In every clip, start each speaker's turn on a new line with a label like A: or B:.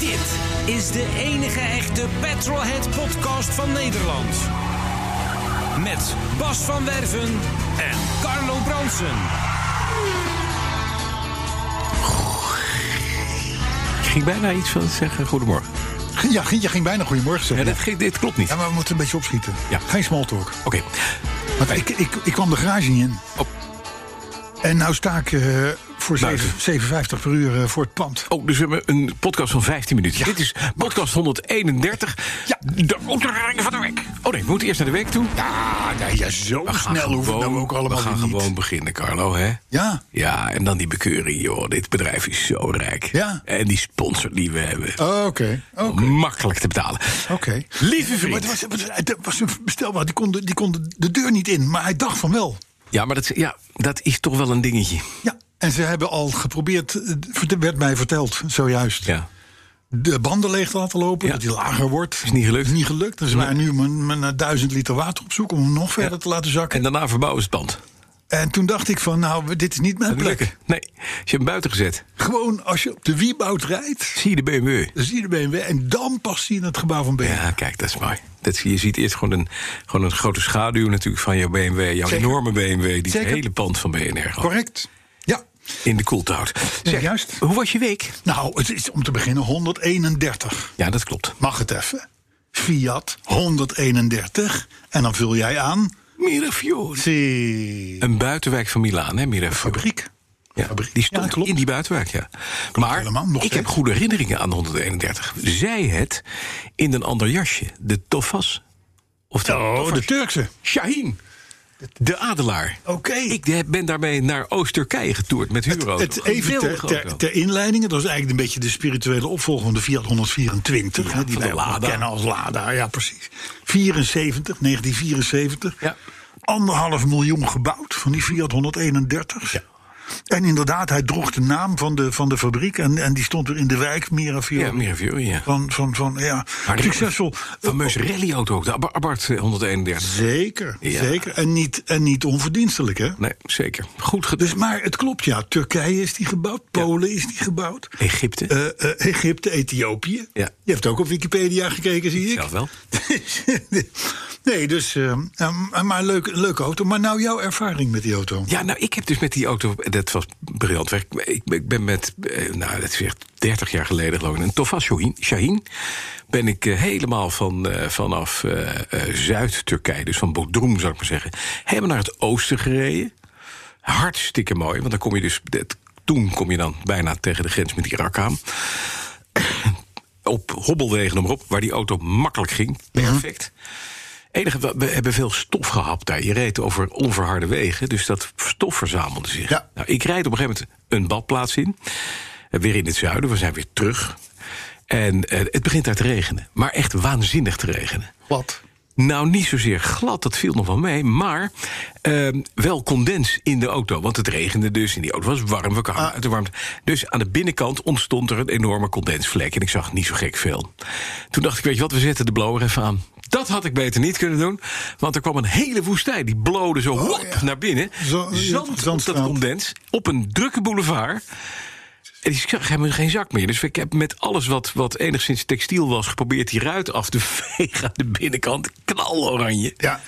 A: Dit is de enige echte Petrolhead podcast van Nederland. Met Bas van Werven en Carlo Bronsen.
B: Ik ging bijna iets van zeggen goedemorgen.
C: Ja, Gientje ging bijna goedemorgen
B: Ja,
C: zeggen.
B: dit, ging- dit klopt niet.
C: Ja, maar we moeten een beetje opschieten.
B: Ja.
C: Geen small talk.
B: Oké.
C: Want ik, ik, ik kwam de garage niet in.
B: Oh.
C: En nou sta ik eh, voor
B: Buiten.
C: 7, 7,50 per uur eh, voor het pand.
B: Oh, dus we hebben een podcast van 15 minuten. Dit is podcast 131.
C: Ja.
B: De oefening van de week. Oh nee, we moeten eerst naar de week toe.
C: Ja, nee, ja zo
B: We gaan
C: snel hoeven we nou ook allemaal
B: We gaan
C: weer niet.
B: gewoon beginnen, Carlo, hè?
C: Ja.
B: Ja, en dan die bekeuring, joh. Dit bedrijf is zo rijk.
C: Ja.
B: En die sponsor die we hebben.
C: Oh, Oké, oké,
B: Makkelijk te betalen.
C: oké.
B: Lieve
C: Maar het
B: vriend.
C: was, het was een bestelbaar, die kon, de, die kon de, de deur niet in, maar hij dacht van wel.
B: Ja, maar dat, is- ja, dat is toch wel een dingetje.
C: Ja, en ze hebben al geprobeerd, eh, vert- werd mij verteld zojuist,
B: Ja.
C: de banden leeg te laten lopen,
B: Ja.
C: dat die lager wordt.
B: Is niet gelukt.
C: Niet gelukt, dus wij nu mijn, mijn 1000 liter water op zoek om hem nog verder te laten zakken.
B: En daarna verbouwen ze het pand.
C: En toen dacht ik van, nou, dit is niet mijn
B: Dat niet
C: plek.
B: lukken. Nee, ze hebben hem buiten gezet.
C: Gewoon als je op de Wieboud rijdt,
B: Zie je de BMW?
C: dan zie je de BMW en dan pas zie je het gebouw van BMW.
B: Ja, kijk, dat is mooi. Dat, je ziet eerst gewoon een, gewoon een grote schaduw natuurlijk van jouw BMW. Jouw
C: Zeker.
B: enorme BMW, die het
C: Zeker.
B: hele pand van BNR had.
C: Correct. Ja.
B: In de koelte houdt. Zeg,
C: juist.
B: hoe was je week?
C: Nou, het is om te beginnen 131.
B: Ja, dat klopt.
C: Mag het even? Fiat 131. En dan vul jij aan.
B: Mirafiori.
C: Zie.
B: Een buitenwijk van Milaan, hè, Mirafiori.
C: Fabriek.
B: Ja,
C: fabriek.
B: die stond
C: Ja, klopt.
B: in die buitenwijk, ja. Maar
C: helemaal,
B: ik
C: nog
B: heb
C: steeds.
B: goede herinneringen aan de 131. Zij het in een ander jasje. De Tofas. Of de,
C: Oh,
B: Tofas.
C: de Turkse.
B: Shahin. De Adelaar.
C: Oké.
B: Ik de- ben daarmee naar Oost-Turkije getoerd met Huurauto.
C: Het even ter,
B: Geweldige
C: ter,
B: auto.
C: ter inleiding, dat is eigenlijk een beetje de spirituele opvolger van de Fiat 124. hè, die
B: van de
C: wij allemaal
B: Lada.
C: kennen als Lada, ja precies. 74, 1974.
B: Ja.
C: Anderhalf miljoen gebouwd van die Fiat 131. En inderdaad, hij droeg de naam van de, van de fabriek en, en die stond er in de wijk Mirafiori.
B: Ja, Mirafiori, ja.
C: Van, van, van, ja,
B: Maar die-
C: succesvol.
B: Fameus rallyauto ook, de Ab- Abarth eh, 131.
C: Zeker,
B: Ja.
C: zeker. En niet, en niet onverdienstelijk, hè?
B: Nee, zeker. Goed
C: Dus,
B: gedaan.
C: maar het klopt, ja. Turkije is die gebouwd, Polen is die gebouwd.
B: Egypte.
C: Eh, eh, Egypte, Ethiopië.
B: Ja.
C: Je hebt ook op Wikipedia gekeken, zie ik.
B: Zelf wel.
C: nee, dus. eh, eh, maar leuk, leuke auto. Maar nou jouw ervaring met die auto.
B: Ja, nou, ik heb dus met die auto, dat was briljant werk. Ik, ik ben met, eh, nou, dat is weer 30 jaar geleden geloof ik, een Tofas Shahin, Shahin ben ik eh, helemaal van, eh, vanaf eh, eh, Zuid-Turkije, dus van Bodrum zou ik maar zeggen, helemaal naar het oosten gereden. Hartstikke mooi, want dan kom je dus, dat- toen kom je dan bijna tegen de grens met Irak aan. Op hobbelwegen om op, waar die auto makkelijk ging. Perfect. Enige, we- we hebben veel stof gehapt daar. Je reed over onverharde wegen, dus dat stof verzamelde zich.
C: Ja.
B: Nou, ik rijd op een gegeven moment een badplaats in. Eh, Weer in het zuiden, we zijn weer terug. En eh, het begint daar te regenen. Maar echt waanzinnig te regenen.
C: Wat?
B: Nou, niet zozeer glad, dat viel nog wel mee. Maar ehm, wel condens in de auto. Want het regende dus en die auto was warm. We
C: Ah.
B: kwamen uit de warmte. Dus aan de binnenkant ontstond er een enorme condensvlek. En ik zag niet zo gek veel. Toen dacht ik, weet je wat, we zetten de blower even aan. Dat had ik beter niet kunnen doen. Want er kwam een hele woestijn. Die blode zo wop,
C: Oh, ja.
B: naar binnen.
C: Zo-
B: Zand op dat
C: zandstraat.
B: condens. Op een drukke boulevard. En ik zag helemaal geen zak meer. Dus ik heb met alles wat, wat enigszins textiel was... geprobeerd die ruit af te vegen aan de binnenkant. Knaloranje.
C: Ja.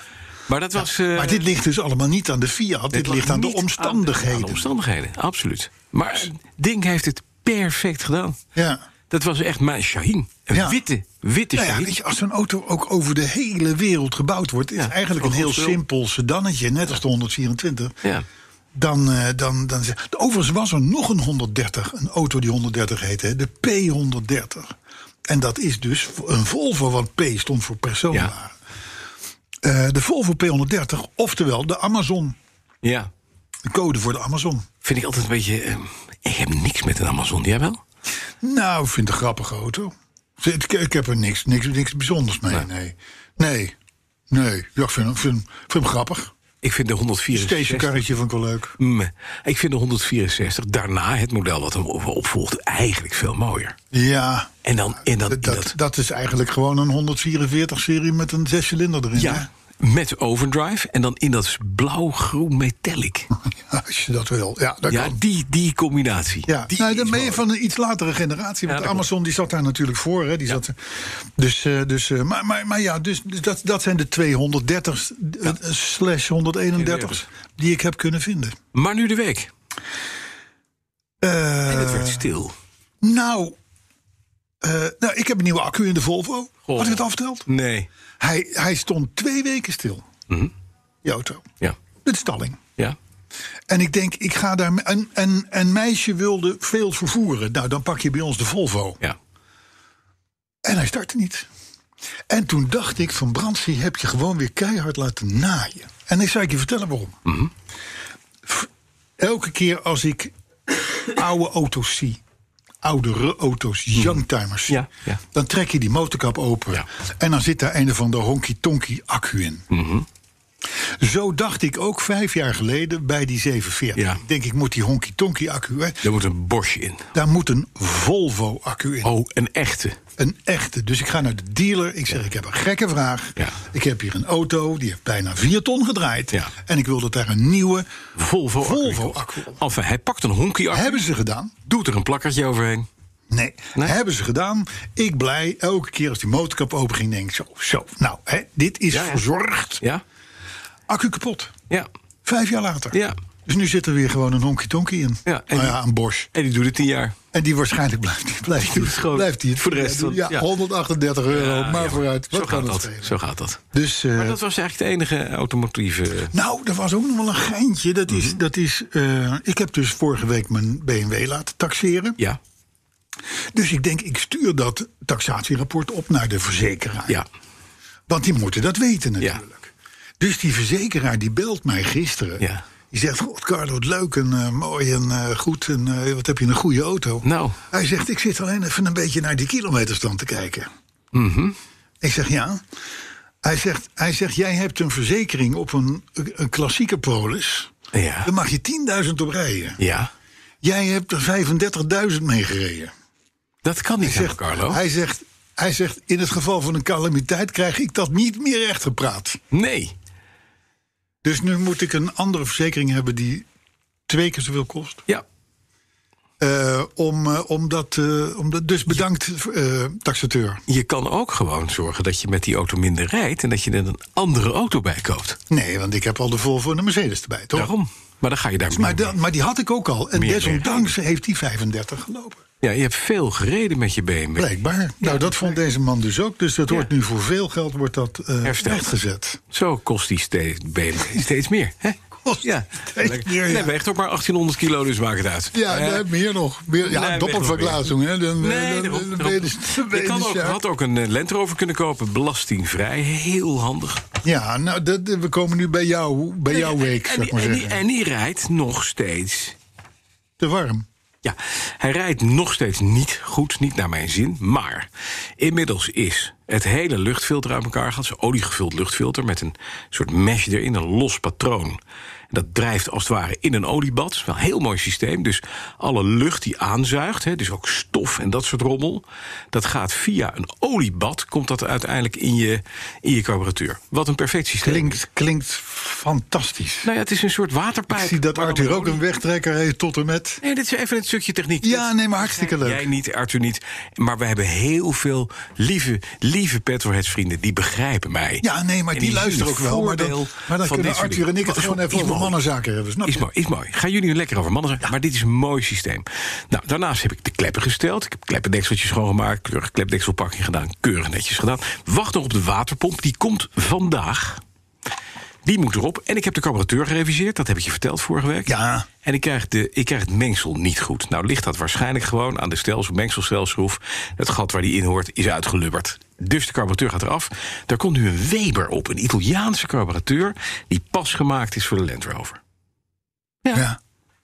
B: Maar dat was... eh,
C: Maar dit ligt dus allemaal niet aan de Fiat. Dit,
B: lag
C: ligt aan de
B: niet aan de
C: omstandigheden.
B: omstandigheden, absoluut. Maar het ding heeft het perfect gedaan.
C: ja.
B: Dat was echt mijn Shaheen. Een
C: Ja.
B: witte, witte
C: Nou ja,
B: Shaheen.
C: weet je, als zo'n auto ook over de hele wereld gebouwd wordt, is
B: Ja,
C: het eigenlijk
B: zo'n
C: een heel
B: godsveel.
C: simpel sedannetje, net als de 124.
B: Ja.
C: Dan, eh, dan, dan, overigens was er nog een 130, een auto die 130 heette, hè, de P130. En dat is dus een Volvo, want P stond voor persoonwagen.
B: Ja.
C: Eh, de Volvo P130, oftewel de Amazon,
B: ja.
C: de code voor de Amazon.
B: Vind ik altijd een beetje. eh, ik heb niks met een Amazon. Jij wel?
C: Nou, ik vind het een grappige auto. Ik, ik heb er niks, niks, niks bijzonders mee. Nee. Nee. Nee. Ja, ik vind, hem- vind, hem- vind hem grappig.
B: Ik vind de 164.
C: Stationcarretje vind ik wel leuk.
B: Mm, ik vind de 164 daarna het model wat hem op- opvolgt eigenlijk veel mooier.
C: Ja.
B: En dan. En dan
C: Dat, dat, dat is eigenlijk gewoon een 144-serie met een zescilinder erin.
B: ja,
C: hè?
B: met overdrive. En dan in dat blauw-groen metallic.
C: Ja, Als je dat wil. Ja, dat
B: Ja,
C: kan.
B: die, die combinatie.
C: Ja,
B: Die
C: nou,
B: is
C: dan ben
B: mooi.
C: je van een iets latere generatie. Want
B: dat
C: Amazon die zat daar natuurlijk voor. Hè, die zat, dus, eh, dus, eh, maar, maar, maar ja, dus, dus dat, dat zijn de 230 slash 131 die ik heb kunnen vinden.
B: Maar nu de week.
C: Eh,
B: En het werd stil.
C: nou, eh, nou, ik heb een nieuwe accu in de Volvo.
B: Goh.
C: Had ik het al verteld?
B: Nee.
C: Hij, hij stond twee weken stil.
B: Mhm.
C: Die auto.
B: Ja.
C: De stalling.
B: Ja.
C: En ik denk, ik ga daar. Een, een, een meisje wilde veel vervoeren. Nou, dan pak je bij ons de Volvo.
B: Ja.
C: En hij startte niet. En toen dacht ik, van Bransie heb je gewoon weer keihard laten naaien. En ik zou ik je vertellen waarom.
B: Mhm.
C: F- Elke keer als ik oude auto's zie, oudere auto's, youngtimers zie...
B: Mhm. Ja, ja.
C: dan trek je die motorkap open
B: Ja.
C: en dan zit daar een of ander honky-tonky accu in.
B: Mhm.
C: Zo dacht ik ook vijf jaar geleden bij die 740.
B: Ja.
C: Ik denk, ik moet die honky-tonky accu... hè,
B: Er moet een Bosch in.
C: Daar moet een Volvo-accu in.
B: Oh, een echte.
C: Een echte. Dus ik ga naar de dealer. Ik zeg, ik heb een gekke vraag.
B: Ja.
C: Ik heb hier een auto, die heeft bijna 4 ton gedraaid.
B: Ja.
C: En ik wil dat daar een nieuwe...
B: Volvo,
C: Volvo
B: accu.
C: accu.
B: Enfin, hij pakt een honkie accu.
C: Hebben ze gedaan?
B: Doet er een plakkertje overheen.
C: Nee.
B: Nee?
C: Hebben ze gedaan? Ik blij. Elke keer als die motorkap open ging, denk ik zo. Zo, nou, hè, dit is
B: Ja, ja.
C: verzorgd.
B: Ja.
C: Accu kapot.
B: Ja.
C: Vijf jaar later.
B: Ja.
C: Dus nu zit er weer gewoon een honky-tonky in.
B: Ja, en
C: nou
B: die-
C: ja, een Bosch.
B: En die doet het tien jaar.
C: En die waarschijnlijk blijft, die, blijft, die,
B: doet het gewoon
C: blijft die het
B: voor de rest
C: doen.
B: van-
C: ja,
B: ja.
C: 138 euro, maar
B: ja.
C: vooruit. Wat
B: Zo
C: kan
B: gaat
C: het
B: dat.
C: schelen?
B: Zo gaat dat.
C: Dus, eh,
B: Maar dat was eigenlijk het enige automotieve. eh,
C: Nou, er was ook nog wel een geintje. Dat is,
B: Mhm.
C: dat is, eh, ik heb dus vorige week mijn BMW laten taxeren.
B: Ja.
C: Dus ik denk, ik stuur dat taxatierapport op naar de verzekeraar.
B: Ja.
C: Want die moeten dat weten
B: Ja.
C: natuurlijk. Dus die verzekeraar die belt mij gisteren.
B: Ja.
C: Die zegt, God, Carlo, wat leuk en eh, mooi en eh, goed. En eh, wat heb je een goede auto.
B: Nou.
C: Hij zegt, ik zit alleen even een beetje naar die kilometerstand te kijken.
B: Mhm.
C: Ik zeg, ja. Hij zegt, hij zegt, jij hebt een verzekering op een, een klassieke polis.
B: Ja.
C: Daar mag je 10.000 op rijden.
B: Ja.
C: Jij hebt er 35.000 mee gereden.
B: Dat kan niet,
C: Zegt-
B: helemaal, Carlo.
C: Hij zegt, hij zegt, in het geval van een calamiteit krijg ik dat niet meer echt gepraat.
B: Nee.
C: Dus nu moet ik een andere verzekering hebben die twee keer zoveel kost.
B: Ja.
C: Eh, om, eh, om dat, eh, om dat, dus bedankt, eh, taxateur.
B: Je kan ook gewoon zorgen dat je met die auto minder rijdt en dat je er een andere auto bij koopt.
C: Nee, want ik heb al de Volvo en de Mercedes erbij, toch?
B: Daarom. Maar dan ga je daar
C: Maar,
B: meer
C: dat- maar die had ik ook al. En
B: Meer
C: desondanks heeft die 35 gelopen.
B: mee. Ja, je hebt veel gereden met je BMW.
C: Blijkbaar. nou, dat vond deze man dus ook. Dus dat wordt nu voor veel geld wordt dat, eh
B: Hersteld.
C: rechtgezet.
B: Zo kost die steeds, BMW steeds meer. Hè?
C: Kost steeds
B: Lekker.
C: meer, ja.
B: Nee, weegt ook maar 1800 kilo, dus maak het uit.
C: Ja,
B: Eh,
C: nee, meer nog. Meer, ja,
B: nee, meer
C: doppelverglazing. Hè? Dan, eh,
B: Nee,
C: dan-
B: daarom,
C: dan
B: daarom.
C: ben je dus- dan ben
B: je
C: je
B: kan
C: dus,
B: ook,
C: ja.
B: had ook een eh, Land Rover kunnen kopen, belastingvrij. Heel handig.
C: Ja, nou, dat, we komen nu bij, jou, bij jouw week,
B: en,
C: zou ik
B: die,
C: maar
B: en, die,
C: zeggen.
B: en die rijdt nog steeds.
C: Te warm.
B: Ja, hij rijdt nog steeds niet goed, niet naar mijn zin. Maar inmiddels is het hele luchtfilter uit elkaar gehad. Zo'n oliegevuld luchtfilter met een soort mesh erin, een los patroon. Dat drijft als het ware in een oliebad. Dat is wel een heel mooi systeem. Dus alle lucht die aanzuigt, hè, dus ook stof en dat soort rommel... dat gaat via een oliebad, komt dat uiteindelijk in je, in je carburateur. Wat een perfect systeem.
C: Klinkt, klinkt fantastisch.
B: Nou ja, het is een soort waterpijp.
C: Ik zie dat
B: maar dan
C: Arthur
B: met
C: ook
B: olie.
C: een wegtrekker heeft tot en met.
B: Nee, dit is even een stukje techniek.
C: Ja,
B: Dat-
C: nee, maar hartstikke leuk.
B: Jij niet, Arthur niet. Maar we hebben heel veel lieve, lieve Petroheads vrienden die begrijpen mij.
C: Ja, nee, maar
B: En
C: die,
B: zien
C: luisteren
B: het
C: ook wel. Maar
B: voordeel
C: dan, maar
B: van
C: dan kunnen
B: dit soort
C: Arthur en ik
B: dingen.
C: het gewoon
B: Is
C: even over
B: mooi.
C: mannenzaken hebben, snap
B: Is
C: je?
B: mooi, is mooi. Gaan jullie nu lekker over mannen zijn? Maar dit is een mooi systeem. Nou, daarnaast heb ik de kleppen gesteld. Ik heb kleppendekseltjes schoongemaakt, keurig klepdekselpakking gedaan, keurig netjes gedaan. Wacht nog op de waterpomp, die komt vandaag. Die moet erop. En ik heb de carburateur gereviseerd, dat heb ik je verteld vorige week.
C: Ja.
B: En ik krijg, de, ik krijg het mengsel niet goed. Nou ligt dat waarschijnlijk gewoon aan de stelsel, mengselstelschroef. Het gat waar die in hoort is uitgelubberd. Dus de carburateur gaat eraf. Daar komt nu een Weber op, een Italiaanse carburateur... die pas gemaakt is voor de Land Rover.
C: Ja.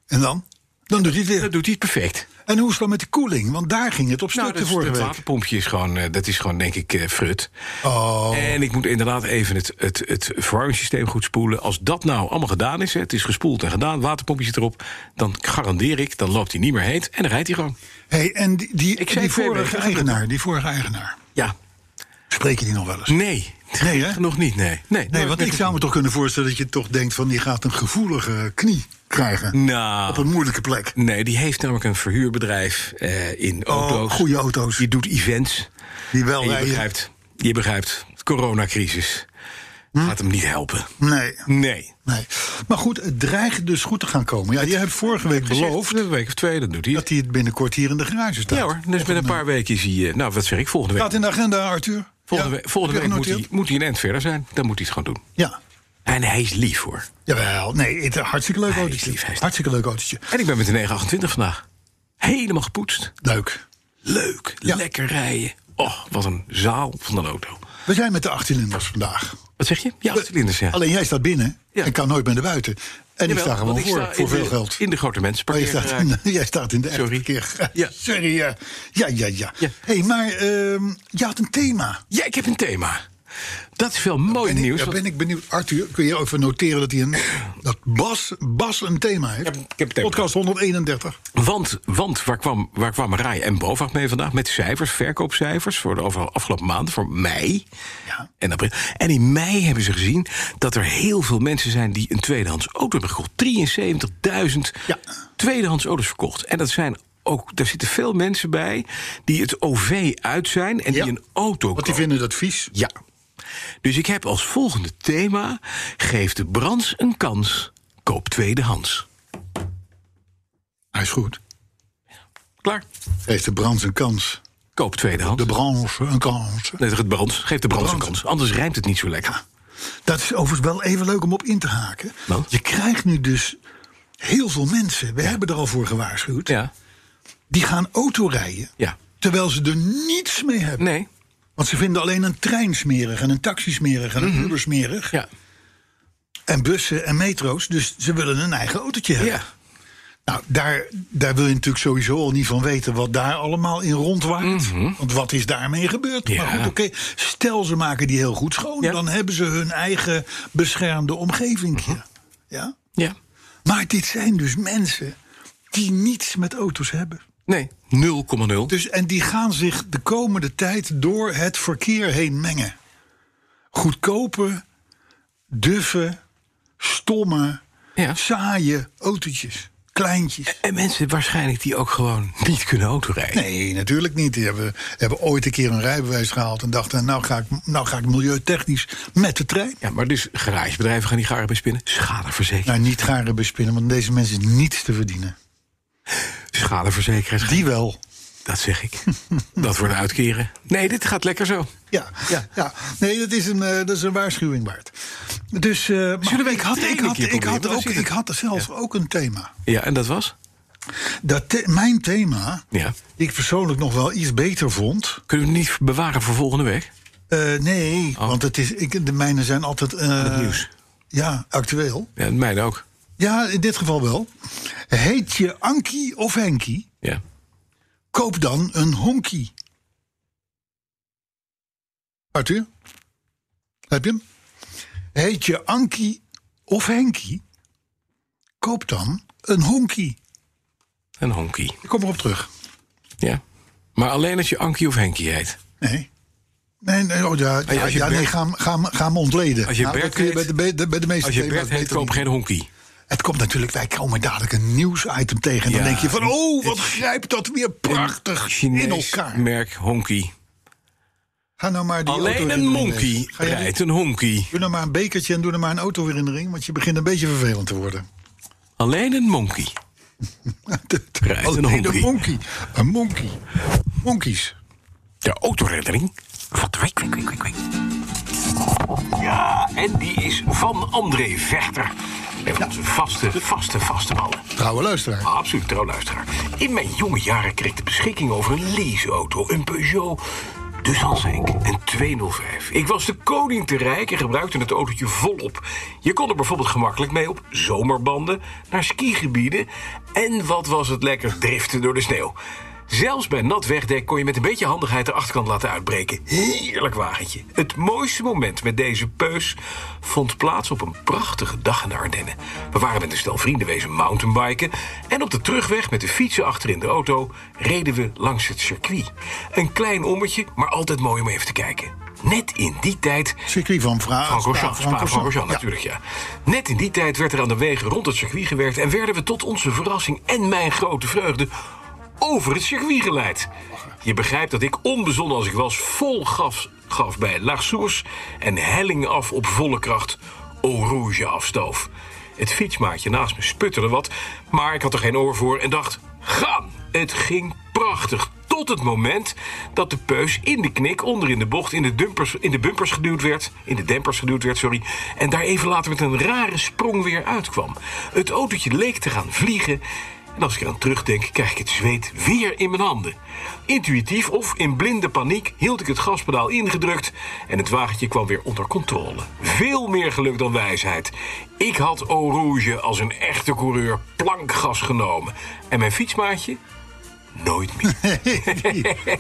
C: En dan? Dan doet hij het
B: Dat
C: weer.
B: doet hij het perfect.
C: En hoe is het dan met de koeling? Want daar ging het op stuk
B: Nou,
C: de
B: dat,
C: vorige
B: het
C: week.
B: waterpompje is gewoon, eh, dat is gewoon denk ik eh, frut.
C: Oh,
B: En ik moet inderdaad even het, het, het verwarmingssysteem goed spoelen. Als dat nou allemaal gedaan is, hè, het is gespoeld en gedaan, waterpompje zit erop, dan garandeer ik, dan loopt hij niet meer heet en dan rijdt hij gewoon.
C: hey, en die, die,
B: Ik zei twee
C: die vorige
B: weken, dat
C: eigenaar, die vorige eigenaar,
B: Ja.
C: spreek je die nog wel eens?
B: Nee.
C: Nee, hè?
B: Nog niet, nee. Nee,
C: Nee, want ik zou me toch kunnen voorstellen dat je toch denkt van... die gaat een gevoelige knie krijgen op
B: Nou,
C: een moeilijke plek.
B: nee, die heeft namelijk een verhuurbedrijf eh, in auto's.
C: goede auto's.
B: Die doet events.
C: Oh, Die wel
B: En je
C: rijden.
B: begrijpt, je begrijpt, de coronacrisis gaat hem niet helpen.
C: Nee,
B: Nee.
C: Hm? nee. Maar goed, het dreigt dus goed te gaan komen. Ja, je hebt vorige week beloofd
B: Een week of twee, dat doet hij.
C: dat hij het binnenkort hier in de garage staat.
B: Ja hoor, dus met een paar weken is hij... eh, Nou, wat zeg ik, volgende week.
C: Staat in de agenda, Arthur.
B: Volgende,
C: Ja,
B: we- volgende
C: heb
B: week
C: je
B: moet hij,
C: genoteerd?
B: moet hij een eind verder zijn. Dan moet hij het gewoon doen.
C: Ja,
B: En hij is lief hoor.
C: jawel. Nee, het, hartstikke leuk
B: Hij is
C: autootje.
B: lief, hij is-
C: hartstikke leuk autootje.
B: En ik ben met een 928 vandaag. Helemaal gepoetst.
C: Leuk.
B: Leuk.
C: Ja.
B: Lekker rijden. Oh, wat een zaal van een auto.
C: We zijn met de achtcilinders vandaag.
B: Wat zeg je? Ja, cilinders, ja.
C: Eh, Alleen jij staat binnen
B: Ja.
C: en kan nooit meer naar buiten. En
B: Jawel,
C: ik sta gewoon
B: want
C: voor,
B: sta
C: voor
B: in
C: veel
B: de-
C: geld.
B: In de grote
C: Maar jij
B: mensenparkeer.
C: staat, in, jij staat in de echte
B: Sorry.
C: verkeer.
B: Ja.
C: Sorry, ja. Ja, ja, ja.
B: Ja.
C: hey, maar ehm, je had een thema.
B: Ja, ik heb een thema. Dat is wel mooi
C: En ik,
B: nieuws.
C: daar
B: want-
C: ben ik benieuwd. Arthur, kun je even noteren dat, hij een, dat Bas, Bas een thema heeft?
B: Ik heb- ik heb een thema.
C: Podcast 131.
B: Want, want waar, kwam, waar kwamen RAI en BOVAG mee vandaag? Met cijfers, verkoopcijfers voor de over- afgelopen maanden, voor mei
C: Ja.
B: en april. En in mei hebben ze gezien dat er heel veel mensen zijn die een tweedehands auto hebben gekocht. 73.000
C: Ja.
B: tweedehands auto's verkocht. En dat zijn ook, daar zitten veel mensen bij die het OV uit zijn en
C: Ja.
B: die een auto
C: Want die
B: kopen.
C: vinden dat vies.
B: Ja. Dus ik heb als volgende thema: geef de brands een kans, koop tweedehands.
C: Hij is goed.
B: Klaar.
C: Heeft de branche een kans?
B: Koop tweedehands.
C: De branche een kans.
B: Nee, het brands. Geef de brands een
C: Brands.
B: kans. Anders rijmt het niet zo lekker.
C: Dat is overigens wel even leuk om op in te haken.
B: Nou.
C: Je krijgt nu dus heel veel mensen. We hebben er al voor gewaarschuwd.
B: Ja.
C: Die gaan autorijden.
B: Ja.
C: Terwijl ze er niets mee hebben.
B: Nee.
C: Want ze vinden alleen een trein smerig en een taxi smerig en een Uber smerig.
B: Mhm. Ja.
C: En bussen en metro's. Dus ze willen een eigen autootje hebben.
B: Ja.
C: Nou, daar, daar wil je natuurlijk sowieso al niet van weten wat daar allemaal in rondwaart. Want wat is daarmee gebeurd?
B: Mhm. Ja.
C: Maar goed, oké. Stel ze maken die heel goed schoon.
B: Ja.
C: Dan hebben ze hun eigen beschermde omgeving.
B: Mhm.
C: ja?
B: Ja.
C: Maar dit zijn dus mensen die niets met auto's hebben.
B: Nee. 0,0.
C: Dus, en die gaan zich de komende tijd door het verkeer heen mengen. Goedkope, duffe, stomme,
B: Ja.
C: saaie autootjes. Kleintjes.
B: En mensen waarschijnlijk die ook gewoon niet kunnen autorijden.
C: Nee, natuurlijk niet. Die hebben, hebben ooit een keer een rijbewijs gehaald en dachten... nou ga ik, nou ga ik milieutechnisch met de trein.
B: Ja, maar dus garagebedrijven gaan die garen bij spinnen. Schadeverzekering.
C: Nou, niet garen bespinnen, want deze mensen is niets te verdienen.
B: Schadeverzekering.
C: Die wel.
B: Dat zeg ik. Dat wordt uitkeren. Nee, dit gaat lekker zo.
C: Ja, ja, ja. Nee, dat is een, eh, dat is een waarschuwing waard. Dus eh, maar
B: Zullen we
C: ik
B: die
C: had,
B: trein
C: ik
B: een
C: had,
B: keer
C: ik
B: proberen?
C: had,
B: Dan
C: ook,
B: zit het-
C: ik had er zelf ook een thema.
B: Ja, en dat was?
C: Dat the- mijn thema,
B: Ja.
C: die ik persoonlijk nog wel iets beter vond.
B: Kunnen we het niet bewaren voor volgende week?
C: eh, nee, want het is, ik, de mijnen zijn altijd. eh,
B: Oh. het nieuws.
C: Ja, actueel.
B: Ja, en mij ook.
C: Ja, in dit geval wel. Heet je Ankie of Henkie?
B: Ja.
C: Koop dan een honkie. Arthur? Heb je hem? Heet je Ankie of Henkie? Koop dan een honkie.
B: Een honkie.
C: Ik kom erop terug.
B: Ja. Maar alleen als je Ankie of Henkie heet.
C: Nee. Nee, nee, oh ja, ja,
B: als je
C: ja, nee
B: Bert-
C: ga, hem- ga, hem- ga hem ontleden.
B: Als je
C: Nou, dat
B: Bert
C: kun je bij
B: heet-
C: de, be- de- bij de meeste
B: Als je
C: thema's
B: Bert heet,
C: beter
B: koop
C: niet.
B: geen honkie.
C: Het komt natuurlijk, wij komen dadelijk een nieuwsitem tegen. En dan
B: Ja,
C: denk je van, oh, wat
B: het-
C: grijpt dat weer prachtig in
B: Chinees
C: elkaar.
B: merk honkie.
C: Ga nou maar die auto
B: Alleen
C: weer
B: een
C: in de
B: monkey
C: race. Ga jij
B: rijdt een honkie.
C: Doe nou maar een bekertje en doe nou maar een auto weer in de ring. Want je begint een beetje vervelend te worden.
B: Alleen een monkey. Rijdt een
C: Alleen
B: honkie.
C: een oh, monkey. Een monkey. Monkeys.
B: De autoreddering van de week, week, week, week, week. Ja, en die is van André Vechter. Een van onze vaste, vaste, vaste mannen.
C: Trouwe luisteraar.
B: Absoluut trouw luisteraar. In mijn jonge jaren kreeg ik de beschikking over een leaseauto. Een Peugeot 208 Dus Hans Henk, een 205. Ik was de koning te rijk en gebruikte het autootje volop. Je kon er bijvoorbeeld gemakkelijk mee op zomerbanden, naar skigebieden... en wat was het lekker driften door de sneeuw. Zelfs bij nat wegdek kon je met een beetje handigheid de achterkant laten uitbreken. Heerlijk wagentje. Het mooiste moment met deze peus vond plaats op een prachtige dag in de Ardennen. We waren met een stel vrienden wezen mountainbiken... en op de terugweg met de fietsen achter in de auto... reden we langs het circuit. Een klein ommetje, maar altijd mooi om even te kijken. Net in die tijd
C: Circuit van Vra.
B: Francorchamps,
C: Spa-
B: Spa- Francorchamps
C: Ja.
B: natuurlijk, ja. Net in die tijd werd er aan de wegen rond het circuit gewerkt... en werden we tot onze verrassing en mijn grote vreugde over het circuit geleid. Je begrijpt dat ik, onbezonnen als ik was, vol gas gaf bij La Source... en helling af op volle kracht Eau Rouge afstoof. Het fietsmaatje naast me sputterde wat, maar ik had er geen oor voor en dacht... gaan! Het ging prachtig. Tot het moment dat de peus in de knik onder in de bocht in de, dumpers, in de bumpers geduwd werd. In de dempers geduwd werd, sorry. En daar even later met een rare sprong weer uitkwam. Het autootje leek te gaan vliegen. En als ik eraan terugdenk, krijg ik het zweet weer in mijn handen. Intuïtief of in blinde paniek hield ik het gaspedaal ingedrukt. En het wagentje kwam weer onder controle. Veel meer geluk dan wijsheid. Ik had Eau Rouge als een echte coureur plankgas genomen. En mijn fietsmaatje? Nooit meer.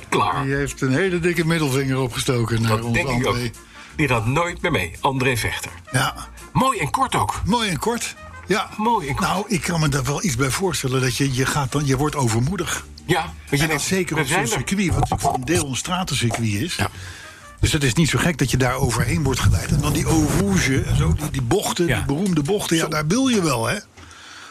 B: Klaar.
C: Die heeft een hele dikke middelvinger opgestoken naar
B: Dat
C: ons
B: denk ik ook.
C: André.
B: Die gaat nooit meer mee. André Vechter.
C: Ja,
B: Mooi en kort ook.
C: mooi en kort. Ja.
B: Mooi en kort.
C: Nou, ik kan me daar wel iets bij voorstellen. Dat je, je, gaat dan, je wordt overmoedig.
B: Ja, want je
C: en
B: denkt,
C: dat zeker
B: we
C: op zo'n
B: zijn er.
C: circuit, wat natuurlijk voor een deel een stratencircuit is.
B: Ja.
C: Dus het is niet zo gek dat je daar overheen wordt geleid. En dan die eau rouge en zo, die, die bochten,
B: Ja.
C: die beroemde bochten. Ja, daar wil je wel, hè?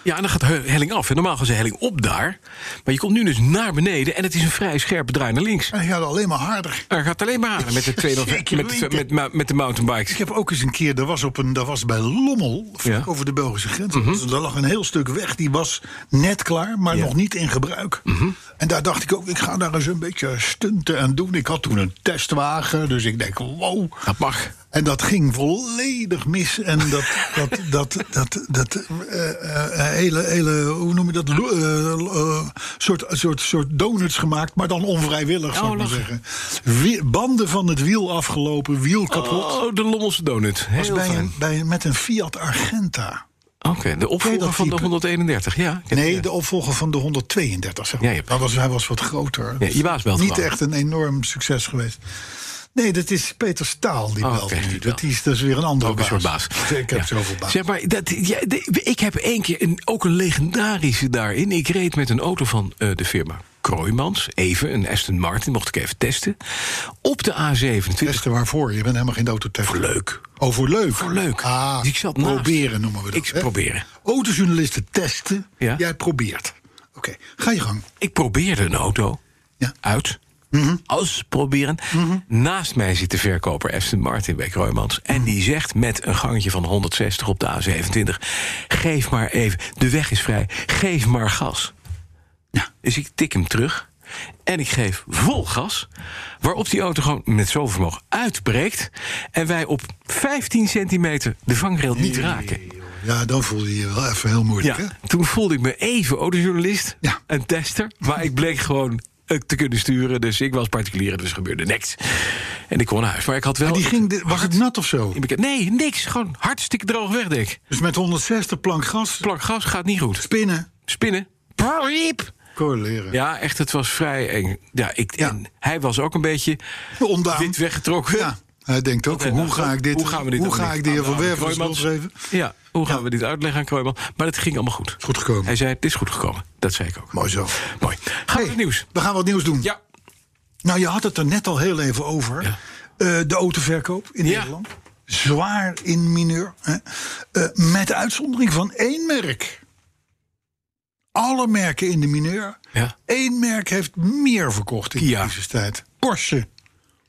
B: Ja, en dan gaat he- helling af. En normaal gaat ze helling op daar. Maar je komt nu dus naar beneden en het is een vrij scherpe draai naar links.
C: En je gaat alleen maar harder.
B: Er gaat alleen maar aan met de, 205
C: Zeker
B: met, de-
C: weten.
B: met, met, met de mountainbikes.
C: Ik heb ook eens een keer, daar was, op een, daar was bij Lommel, vlak
B: Ja. Mhm.
C: over de Belgische grens. Dus Daar lag een heel stuk weg, die was net klaar, maar nog niet in gebruik.
B: Mhm.
C: En daar dacht ik ook, ik ga daar eens een beetje stunten en doen. Ik had toen een testwagen, dus ik denk, wow.
B: Dat mag.
C: En dat ging volledig mis. En dat, dat, dat, dat, dat eh, eh, hele, hele, hoe noem je dat, lo- eh, eh, soort, soort, soort donuts gemaakt, maar dan onvrijwillig, zou ik maar
B: lachen.
C: zeggen. Wie- banden van het wiel afgelopen, wiel kapot.
B: Oh, de Lommelse donut. Heel
C: was bij
B: fijn.
C: een, bij, met een Fiat Argenta.
B: Oké, de
C: Ken je
B: opvolger
C: dat
B: van de
C: type?
B: 131. Ja, ik heb-
C: Nee, de opvolger van de 132, zeg maar.
B: Ja, je hebt-
C: Dat was, hij was wat groter.
B: Ja, je baas belt
C: Niet
B: gewoon.
C: echt een enorm succes geweest. Nee, dat is Peter Staal die
B: Oh,
C: belt
B: oké,
C: nu.
B: die
C: Dat
B: belt.
C: is, dat is weer een andere
B: Ook een soort baas.
C: Ik heb
B: Ja.
C: zoveel baas.
B: Zeg maar, dat, ja, de- ik heb één keer een, ook een legendarische daarin. Ik reed met een auto van eh, de firma Kroijmans. Even, een Aston Martin, mocht ik even testen. Op de A27.
C: Testen waarvoor? Je bent helemaal geen autotester.
B: Voor leuk.
C: Oh, voor leuk?
B: Voor leuk.
C: Ah,
B: Dus ik zat naast.
C: proberen noemen we dat.
B: Ik
C: hè?
B: proberen.
C: Autojournalisten testen.
B: Ja.
C: Jij probeert. Oké, ga je gang.
B: Ik probeerde een auto
C: Ja.
B: uit. Als proberen. Naast mij zit de verkoper Aston Martin bij Kroijmans. En die zegt met een gangetje van 160 op de A27... geef maar even, de weg is vrij, geef maar gas. Dus ik tik hem terug. En ik geef vol gas. Waarop die auto gewoon met zoveel vermogen uitbreekt. En wij op 15 centimeter de vangrail niet raken.
C: Ja, dan voel je je wel even heel moeilijk, hè?
B: Ja, toen voelde ik me even autojournalist,
C: Ja.
B: een tester. Maar ik bleek gewoon eh, te kunnen sturen. Dus ik was particulier, dus er gebeurde niks. En ik kon naar huis. Maar ik had wel...
C: Maar die ging, de- was het nat of zo?
B: in beke- Nee, niks. Gewoon hartstikke droog wegdek.
C: Dus met 160 plank gas,
B: Plank gas gaat niet goed.
C: spinnen,
B: Spinnen. Priep.
C: correleren.
B: Ja, echt, het was vrij eng. Ja, ik,
C: Ja.
B: En hij was ook een beetje
C: Ondaan.
B: wit weggetrokken.
C: Ja, hij denkt ook, van,
B: nou,
C: hoe ga ik dit...
B: Hoe gaan we dit
C: Hoe
B: dan
C: ga
B: doen?
C: ik de heer
B: Aan
C: Van
B: de
C: Werven de schuld
B: Kroijmans.
C: geven?
B: Ja, hoe gaan we dit uitleggen aan Kruijman? Maar het ging allemaal goed.
C: goed gekomen.
B: Hij zei, het is goed gekomen. Dat zei ik ook.
C: Mooi zo.
B: Mooi. Gaan we
C: Hey,
B: naar het nieuws.
C: We gaan wat nieuws doen.
B: Ja.
C: Nou, je had het er net al heel even over.
B: Ja.
C: Eh, de autoverkoop in
B: Ja.
C: Nederland. Zwaar in mineur. Hè? Eh, met uitzondering van één merk. Alle merken in de mineur.
B: Ja.
C: Eén merk heeft meer verkocht in
B: Kia.
C: de crisistijd. Porsche.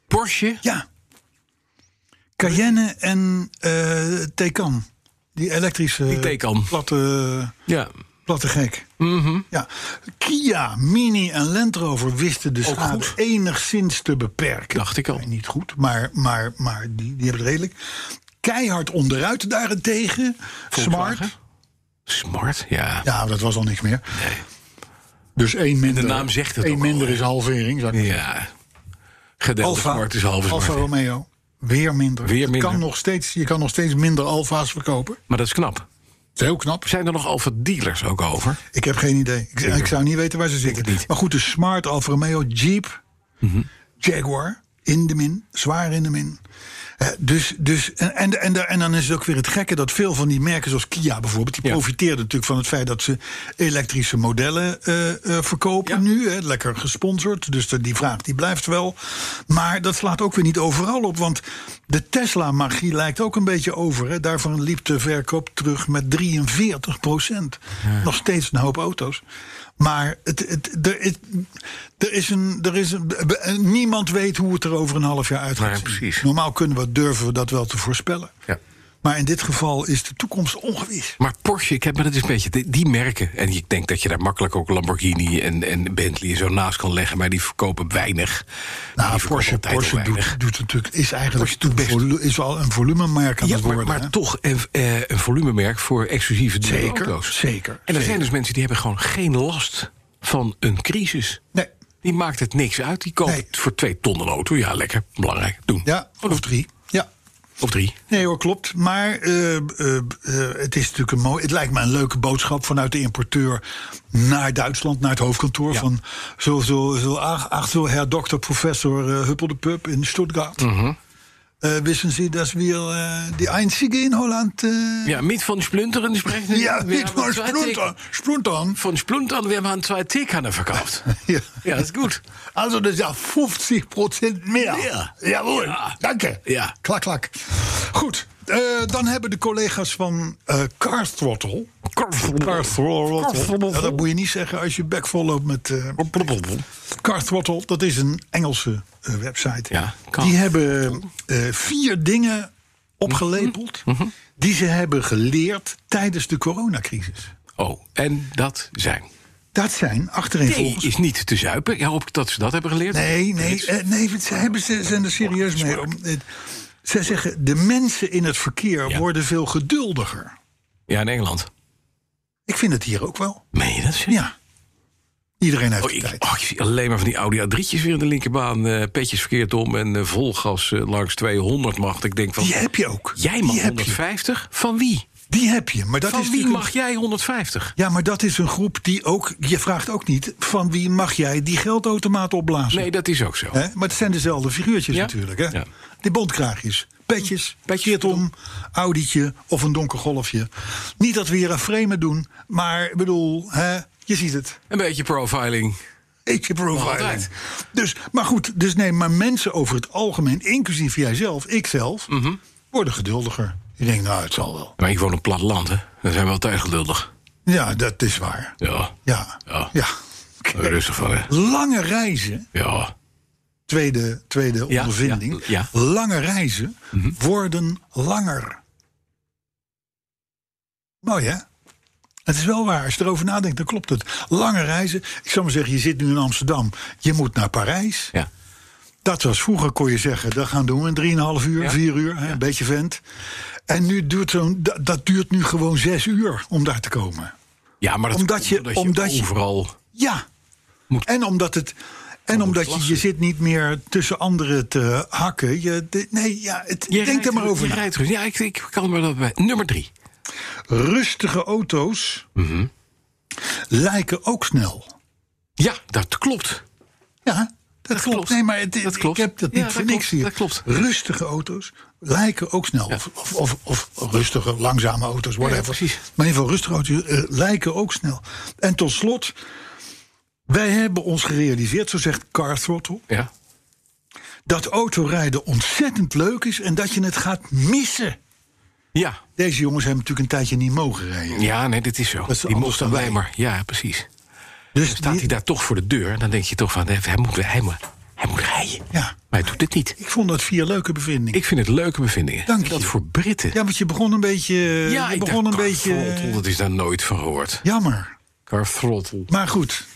B: Porsche.
C: Ja. Cayenne en eh Taycan. Die elektrische
B: Die Taycan.
C: platte,
B: Ja.
C: platte gek.
B: Mhm.
C: ja. Kia, Mini en Land Rover wisten de schade
B: goed.
C: enigszins te beperken.
B: Dacht ik al.
C: Niet goed, maar, maar, maar die, die hebben het redelijk. Keihard onderuit daarentegen. Smart.
B: Smart, ja.
C: Ja, dat was al niks meer. Dus één minder.
B: naam zegt het
C: Eén
B: ook al,
C: minder
B: hè?
C: is halvering. zou ik
B: Ja.
C: maar zeggen.
B: Gedeeld
C: Alfa,
B: zwart is halve
C: Alfa
B: zwart.
C: Romeo. Weer minder.
B: Weer
C: Het
B: minder.
C: Kan nog steeds, je kan nog steeds minder Alfa's verkopen.
B: Maar dat is knap.
C: Dat is heel knap.
B: Zijn er nog Alfa dealers ook over?
C: Ik heb geen idee. Ik, ik zou niet weten waar ze zitten. Maar goed, de Smart, Alfa Romeo, Jeep, Jaguar, in de min, zwaar in de min. Eh, dus, dus, en, en, en, en dan is het ook weer het gekke dat veel van die merken, zoals Kia bijvoorbeeld, die
B: Ja.
C: profiteerden natuurlijk van het feit dat ze elektrische modellen eh, eh, verkopen
B: Ja.
C: nu. Hè, lekker gesponsord, dus de- die vraag die blijft wel. Maar dat slaat ook weer niet overal op, want de Tesla-magie lijkt ook een beetje over. Hè. Daarvan liep de verkoop terug met 43 procent. Nog steeds een hoop auto's. Maar het, het, er, het- er is een, er is een, niemand weet hoe het er over een half jaar uit gaat
B: Nee,
C: zien.
B: precies.
C: Normaal kunnen we, durven we dat wel te voorspellen.
B: Ja.
C: Maar in dit geval is de toekomst ongewis.
B: Maar Porsche, ik heb maar dat is een beetje die, die merken. En ik denk dat je daar makkelijk ook Lamborghini en, en Bentley en zo naast kan leggen. Maar die verkopen weinig. Die
C: Nou,
B: verkopen
C: Porsche,
B: altijd al
C: Porsche
B: weinig.
C: doet, doet natuurlijk, is eigenlijk
B: doet best.
C: volu- is al een volumemerk aan
B: Ja,
C: het
B: maar,
C: worden. hè?
B: maar toch een, eh, een volumemerk voor exclusieve dure
C: Zeker,
B: auto's.
C: zeker,
B: En er
C: zeker.
B: zijn dus mensen die hebben gewoon geen last van een crisis.
C: Nee.
B: Die maakt het niks uit. Die koopt
C: Nee.
B: voor twee ton een auto. Ja, lekker. Belangrijk. Doen.
C: Ja,
B: Oh,
C: of drie. Ja.
B: Of drie.
C: Nee hoor, klopt. Maar eh, eh, eh, het is natuurlijk een mooi. Het lijkt me een leuke boodschap vanuit de importeur naar Duitsland, naar het hoofdkantoor.
B: Ja.
C: Van zo, zo, zo, ach, ach, zo, Herr Dr. Professor eh, Huppel de Pup in Stuttgart.
B: Mhm.
C: Eh, wissen Sie, dass wir eh, die einzige in Holland. eh,
B: Ja, mit van Splinteren sprechen.
C: ja,
B: We
C: niet
B: hebben
C: maar
B: twee
C: Spluntern. Spluntern.
B: Tick- Van Splinteren, we hebben aan twee T-kannen verkauft.
C: Ja.
B: ja, dat is goed.
C: Also das ist ja 50 Prozent mehr.
B: Ja.
C: Jawohl.
B: Ja.
C: Danke.
B: Ja.
C: Klak, klak. Goed. eh, dan hebben de collega's van eh Car Throttle. Car Throttle. Ja, dat moet je niet zeggen als je bek vol loopt met. eh Car Throttle, dat is een Engelse eh, website.
B: Ja, Car
C: Die hebben eh, vier dingen opgelepeld.
B: Mhm.
C: die ze hebben geleerd tijdens de coronacrisis.
B: Oh, en dat zijn.
C: Dat zijn
B: Thee
C: achtereenvolgens.
B: is niet te zuipen. Ja, hoop ik dat ze dat hebben geleerd.
C: Nee, nee, eh, nee ze, hebben, ze zijn er serieus mee. Om, eh, ze zeggen, de mensen in het verkeer
B: Ja.
C: worden veel geduldiger.
B: Ja, in Engeland.
C: Ik vind het hier ook wel.
B: Meen je dat? serieus?
C: Ja. Iedereen heeft
B: Oh,
C: de
B: ik,
C: tijd.
B: oh, ik zie alleen maar van die Audi A3'tjes weer in de linkerbaan. eh, petjes verkeerd om en eh, vol gas eh, langs 200 mag. Ik denk van,
C: Die heb je ook.
B: oh, jij mag
C: die heb je.
B: 150? Van wie?
C: Die heb je. Maar dat
B: van
C: is
B: wie
C: natuurlijk-
B: mag jij 150?
C: Ja, maar dat is een groep die ook... Je vraagt ook niet van wie mag jij die geldautomaat opblazen.
B: Nee, dat is ook zo.
C: Hè? Maar het zijn dezelfde figuurtjes
B: Ja.
C: natuurlijk. Hè?
B: Ja.
C: Die bondkraagjes, petjes,
B: Petjes
C: petjes om, Audietje of een donker golfje. Niet dat we hier aan framen doen, maar ik bedoel, hè, je ziet het.
B: Een beetje profiling.
C: Eetje profiling.
B: Altijd.
C: Dus, maar goed, dus nee, maar mensen over het algemeen, inclusief jijzelf, ikzelf,
B: Mhm.
C: worden geduldiger. Ik denk, nou, het zal wel.
B: Maar ik woon in een plat land, hè. Dan zijn we altijd geduldig.
C: Ja, dat is waar.
B: Ja,
C: Ja.
B: Ja.
C: Oké.
B: rustig van, hè.
C: Lange reizen
B: Ja.
C: tweede, tweede
B: Ja,
C: ondervinding.
B: ja, Mhm.
C: Lange reizen worden langer. Mooi hè? Het is wel waar. Als je erover nadenkt, dan klopt het. Lange reizen. Ik zou maar zeggen, je zit nu in Amsterdam. Je moet naar Parijs.
B: Ja.
C: Dat was vroeger, kon je zeggen, dat gaan doen we in 3,5 uur,
B: Ja.
C: 4 uur, hè, een beetje vent. En nu duurt zo'n, dat, dat duurt nu gewoon 6 uur om daar te komen.
B: ja, maar dat
C: Omdat
B: komt
C: je- omdat je-
B: overal...
C: Ja.
B: Moet- Oh,
C: en omdat het. En omdat je,
B: lachen.
C: je zit niet meer tussen anderen te hakken. Je, de- nee, ja, het,
B: Je
C: denk er
B: rijdt-
C: maar over
B: je
C: na.
B: rijdt gerust. Ja, ik, ik kan me dat bij. Nummer drie.
C: Rustige auto's Mhm. lijken ook snel.
B: Ja, dat klopt.
C: Ja, dat, klopt.
B: klopt.
C: Nee, maar het,
B: Dat klopt.
C: ik heb dat
B: Ja,
C: niet
B: dat
C: voor
B: klopt.
C: niks hier.
B: Dat klopt.
C: Rustige auto's lijken ook snel. Of, of, of, of rustige, langzame auto's, whatever.
B: Ja, precies.
C: Maar in ieder geval rustige auto's eh, lijken ook snel. En tot slot, wij hebben ons gerealiseerd, zo zegt Car Throttle...
B: Ja.
C: dat autorijden ontzettend leuk is en dat je het gaat missen.
B: Ja.
C: Deze jongens hebben natuurlijk een tijdje niet mogen rijden.
B: Ja, nee, dit is zo.
C: is
B: die
C: anders
B: mocht
C: dan
B: alleen
C: wij.
B: maar. Ja, precies.
C: dus
B: Staat hij
C: die-
B: daar toch voor de deur, dan denk je toch van, hij moet, hij moet, hij moet rijden.
C: Ja.
B: Maar hij doet dit niet.
C: Ik vond dat vier leuke bevindingen.
B: Ik vind het leuke bevindingen.
C: Dank
B: Dat
C: je.
B: voor Britten.
C: ja, want je begon een beetje... je
B: ik
C: begon
B: dacht, "Ah,
C: een
B: Carthrottle,
C: beetje... eh,
B: dat is daar nooit van gehoord.
C: Jammer.
B: Carthrottle.
C: Maar goed,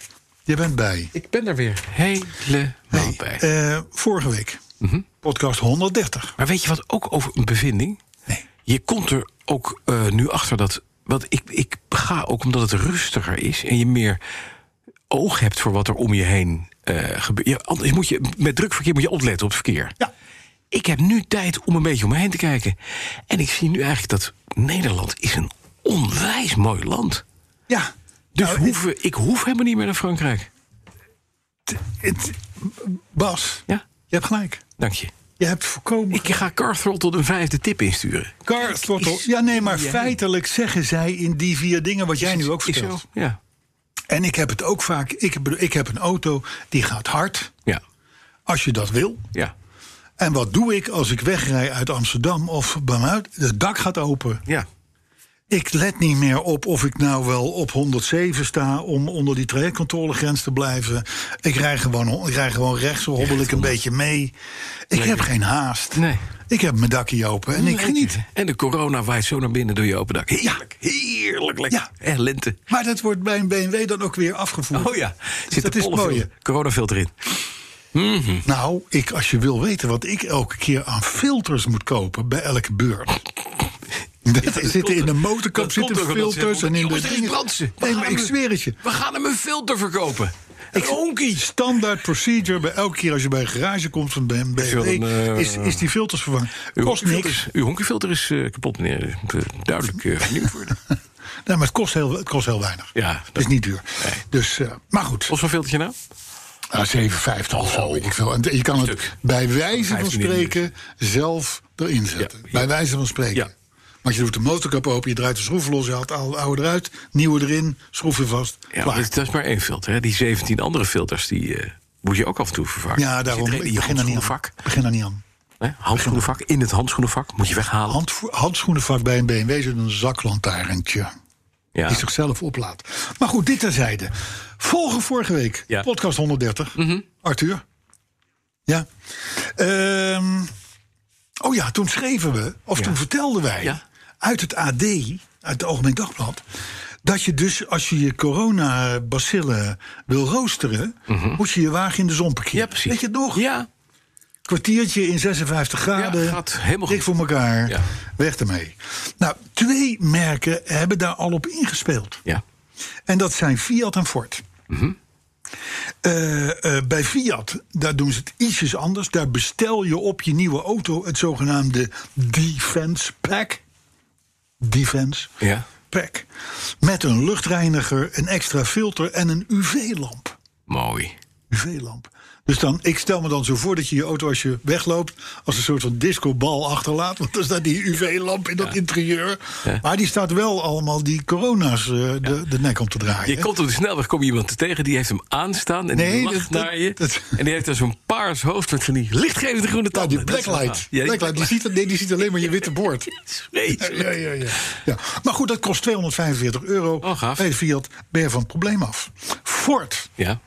C: je bent bij.
B: Ik ben er weer helemaal bij.
C: Eh, vorige week,
B: Mhm.
C: podcast 130.
B: Maar weet je wat ook over een bevinding?
C: Nee.
B: Je komt er ook eh, nu achter dat. Want ik, ik ga ook omdat het rustiger is en je meer oog hebt voor wat er om je heen eh, gebe- ja, anders moet je, met drukverkeer moet je opletten op het verkeer.
C: Ja.
B: Ik heb nu tijd om een beetje om me heen te kijken. En ik zie nu eigenlijk dat Nederland is een onwijs mooi land.
C: Ja.
B: Dus
C: Nou,
B: hoeven, ik hoef helemaal niet meer naar Frankrijk.
C: het- het- Bas,
B: Ja,
C: je hebt gelijk.
B: dank je.
C: Je hebt voorkomen.
B: Ik ga Carthrot tot een vijfde tip insturen.
C: Kartwortel. Ja, nee, maar feitelijk zeggen zij in die vier dingen wat jij nu ook
B: Is
C: vertelt.
B: zo? Ja.
C: En ik heb het ook vaak. Ik heb, ik heb een auto die gaat hard.
B: Ja.
C: Als je dat wil.
B: Ja.
C: En wat doe ik als ik wegrij uit Amsterdam of vanuit? Het dak gaat open.
B: Ja.
C: Ik let niet meer op of ik nou wel op 107 sta om onder die trajectcontrolegrens te blijven. Ik rij gewoon, ik rij gewoon rechts, zo hobbel ik een beetje mee. Ik heb geen haast.
B: Nee.
C: Ik heb mijn dakje open en ik geniet.
B: En de corona waait zo naar binnen door je open dak. Heerlijk. Heerlijk. lekker.
C: Ja.
B: Eh, lente.
C: Maar dat wordt bij een BMW dan ook weer afgevoerd. Dus
B: Oh ja. Zit
C: dat
B: de
C: is het
B: pollenfil-
C: mooie.
B: Coronafilter in.
C: Nou, ik, als je wil weten wat ik elke keer aan filters moet kopen bij elke beurt. Er zitten in de motorkap
B: Dat komt
C: zitten
B: ook omdat ze
C: filters en
B: hebben-
C: in de
B: Jongens, er is brand ze. We
C: Nee,
B: gaan
C: maar ik
B: hem-
C: zweer het je.
B: We gaan hem een filter verkopen. Ik honkie.
C: Standaard procedure bij elke keer als je bij een garage komt van een BMW
B: wil een, eh,
C: is, is die filters vervangen.
B: Uw
C: Kost
B: honkeyfilter
C: niks.
B: is- Uw honkeyfilter is eh, kapot, meneer. Dus moet, eh, Duidelijk eh, vernieuwd worden.
C: Nee, maar het kost heel, het kost heel weinig.
B: Ja,
C: het is niet duur.
B: Nee.
C: Dus, eh, maar goed,
B: Wat voor filtertje nou?
C: Ah, 7,50 of zo. weet Ik veel. En je kan het
B: Oh, Stuk.
C: bij wijze van
B: 15 in de
C: spreken zelf erin zetten.
B: Ja, ja.
C: Bij wijze van spreken.
B: Ja.
C: Want je doet de motorkap open, je draait de schroeven los, je haalt de oude- oude eruit, nieuwe erin, schroeven vast.
B: Ja,
C: klaar.
B: maar dat, is, dat is maar één filter. Hè. Die 17 andere filters, die eh, moet je ook af en toe vervangen.
C: ja daarom.
B: Zit er een in
C: Ik
B: je
C: begin er niet aan.
B: handschoenenvak.
C: Ik Begin er niet aan.
B: Hè? Handschoenenvak, in het handschoenenvak. Moet je weghalen.
C: Handvo- handschoenenvak bij een BMW is een zaklantaarntje.
B: ja.
C: Die zichzelf oplaadt. Maar goed, dit terzijde. Volgen vorige week,
B: Ja. Mhm.
C: podcast 130. Arthur. Ja. Ehm, oh ja, toen schreven we, of toen vertelden wij
B: Ja.
C: uit het AD, uit het Algemeen Dagblad. Dat je dus als je je coronabacillen wil roosteren, moet je je wagen in de zon parkeren.
B: Mhm. ja, precies.
C: Weet je het nog?
B: Ja,
C: Kwartiertje in 56 graden.
B: gaat helemaal
C: dik
B: goed.
C: voor elkaar.
B: Ja.
C: Weg ermee. Nou, twee merken hebben daar al op ingespeeld.
B: ja.
C: En dat zijn Fiat en Ford.
B: Mhm.
C: Eh, eh, bij Fiat, daar doen ze het ietsjes anders. Daar bestel je op je nieuwe auto het zogenaamde Defense Pack. Defense
B: ja.
C: Pack. Met een luchtreiniger, een extra filter en een UV-lamp.
B: Mooi.
C: UV-lamp. Dus dan, ik stel me dan zo voor dat je je auto als je wegloopt... als een soort van discobal achterlaat. Want dan staat die UV-lamp in dat interieur. Maar die staat wel allemaal die corona's eh, de, de nek om te draaien.
B: Je
C: hè?
B: komt op de snelweg, kom je iemand tegen, die heeft hem aanstaan en
C: Nee,
B: die lacht
C: dat- dat-
B: naar je.
C: dat-
B: en die heeft dan zo'n paars hoofd met van die lichtgevende groene
C: Ja,
B: tanden.
C: die
B: Dat is
C: blacklight.
B: wel- Ja, die
C: blacklight. Die ziet, nee, die ziet alleen maar je witte boord.
B: Vreselijk.
C: Ja, ja, ja. ja. Maar goed, dat kost 245 euro.
B: Oh, gaaf.
C: Bij de Fiat ben je van het probleem af. Ford,
B: Ja.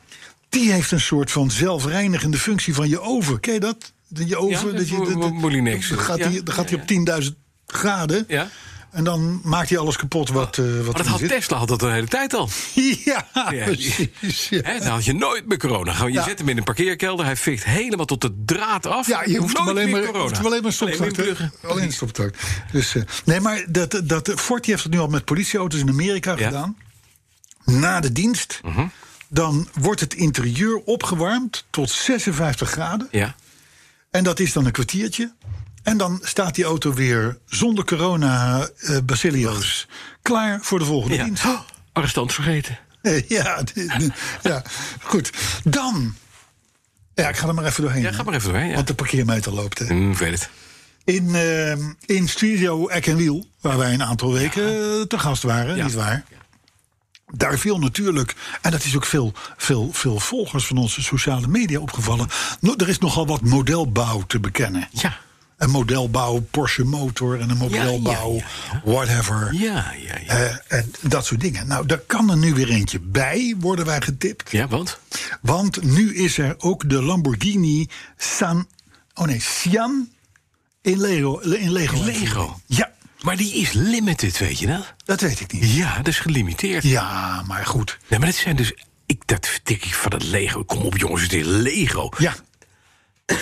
C: die heeft een soort van zelfreinigende functie van je oven. Ken je dat? De- Je oven,
B: Ja,
C: dat je,
B: mo- mo- Molinex.
C: Dan gaat
B: Ja,
C: die, dan
B: ja,
C: gaat die op 10.000 graden.
B: Ja. Oh,
C: En dan maakt hij alles kapot wat, eh, wat
B: Maar dat
C: erin
B: had
C: zit.
B: Tesla had dat de hele tijd al.
C: Ja,
B: Ja,
C: precies.
B: Hè, dan had je nooit meer corona. Gewoon, je
C: Ja.
B: zet hem in een parkeerkelder, hij fikt helemaal tot de draad af.
C: Ja, je hoeft hem
B: Nooit
C: alleen
B: meer
C: maar,
B: corona.
C: hoeft hem alleen maar stopcontact, hè?
B: Alleen maar inpluggen.
C: Alleen stopcontact. Dus, eh, nee, maar dat, dat, Ford die heeft het nu al met politieauto's in Amerika
B: Ja. Mhm.
C: gedaan. Na de dienst, dan wordt het interieur opgewarmd tot 56 graden.
B: Ja.
C: En dat is dan een kwartiertje. En dan staat die auto weer zonder corona eh bacilio's klaar voor de volgende
B: ja.
C: dienst.
B: Oh, Arrestant vergeten.
C: Eh, Ja, de- de- ja, goed. Dan. Ja, ik ga er maar even doorheen.
B: Ja, ga maar even doorheen. Ja.
C: Want de parkeermeter loopt. Hè.
B: Hm, ik weet het.
C: In, ehm, in Studio Eck en Wiel, waar wij een aantal weken eh, te gast waren,
B: Ja.
C: niet waar? Daar viel natuurlijk, en dat is ook veel, veel, veel volgers van onze sociale media opgevallen. no- er is nogal wat modelbouw te bekennen.
B: Ja.
C: Een modelbouw Porsche motor en een modelbouw
B: ja,
C: whatever.
B: Ja, ja, ja.
C: eh, en dat soort dingen. Nou, daar kan er nu weer eentje bij, worden wij getipt.
B: ja, want?
C: Want nu is er ook de Lamborghini San. Oh nee, Sian in Lego. In Lego.
B: Lego.
C: Ja,
B: Maar die is limited, weet je dat?
C: dat weet ik niet.
B: Ja, dat is gelimiteerd.
C: Ja, maar goed. Nou,
B: Nee, maar dat zijn dus... Ik, dat tik ik van het Lego. Kom op, jongens, het is Lego.
C: Ja,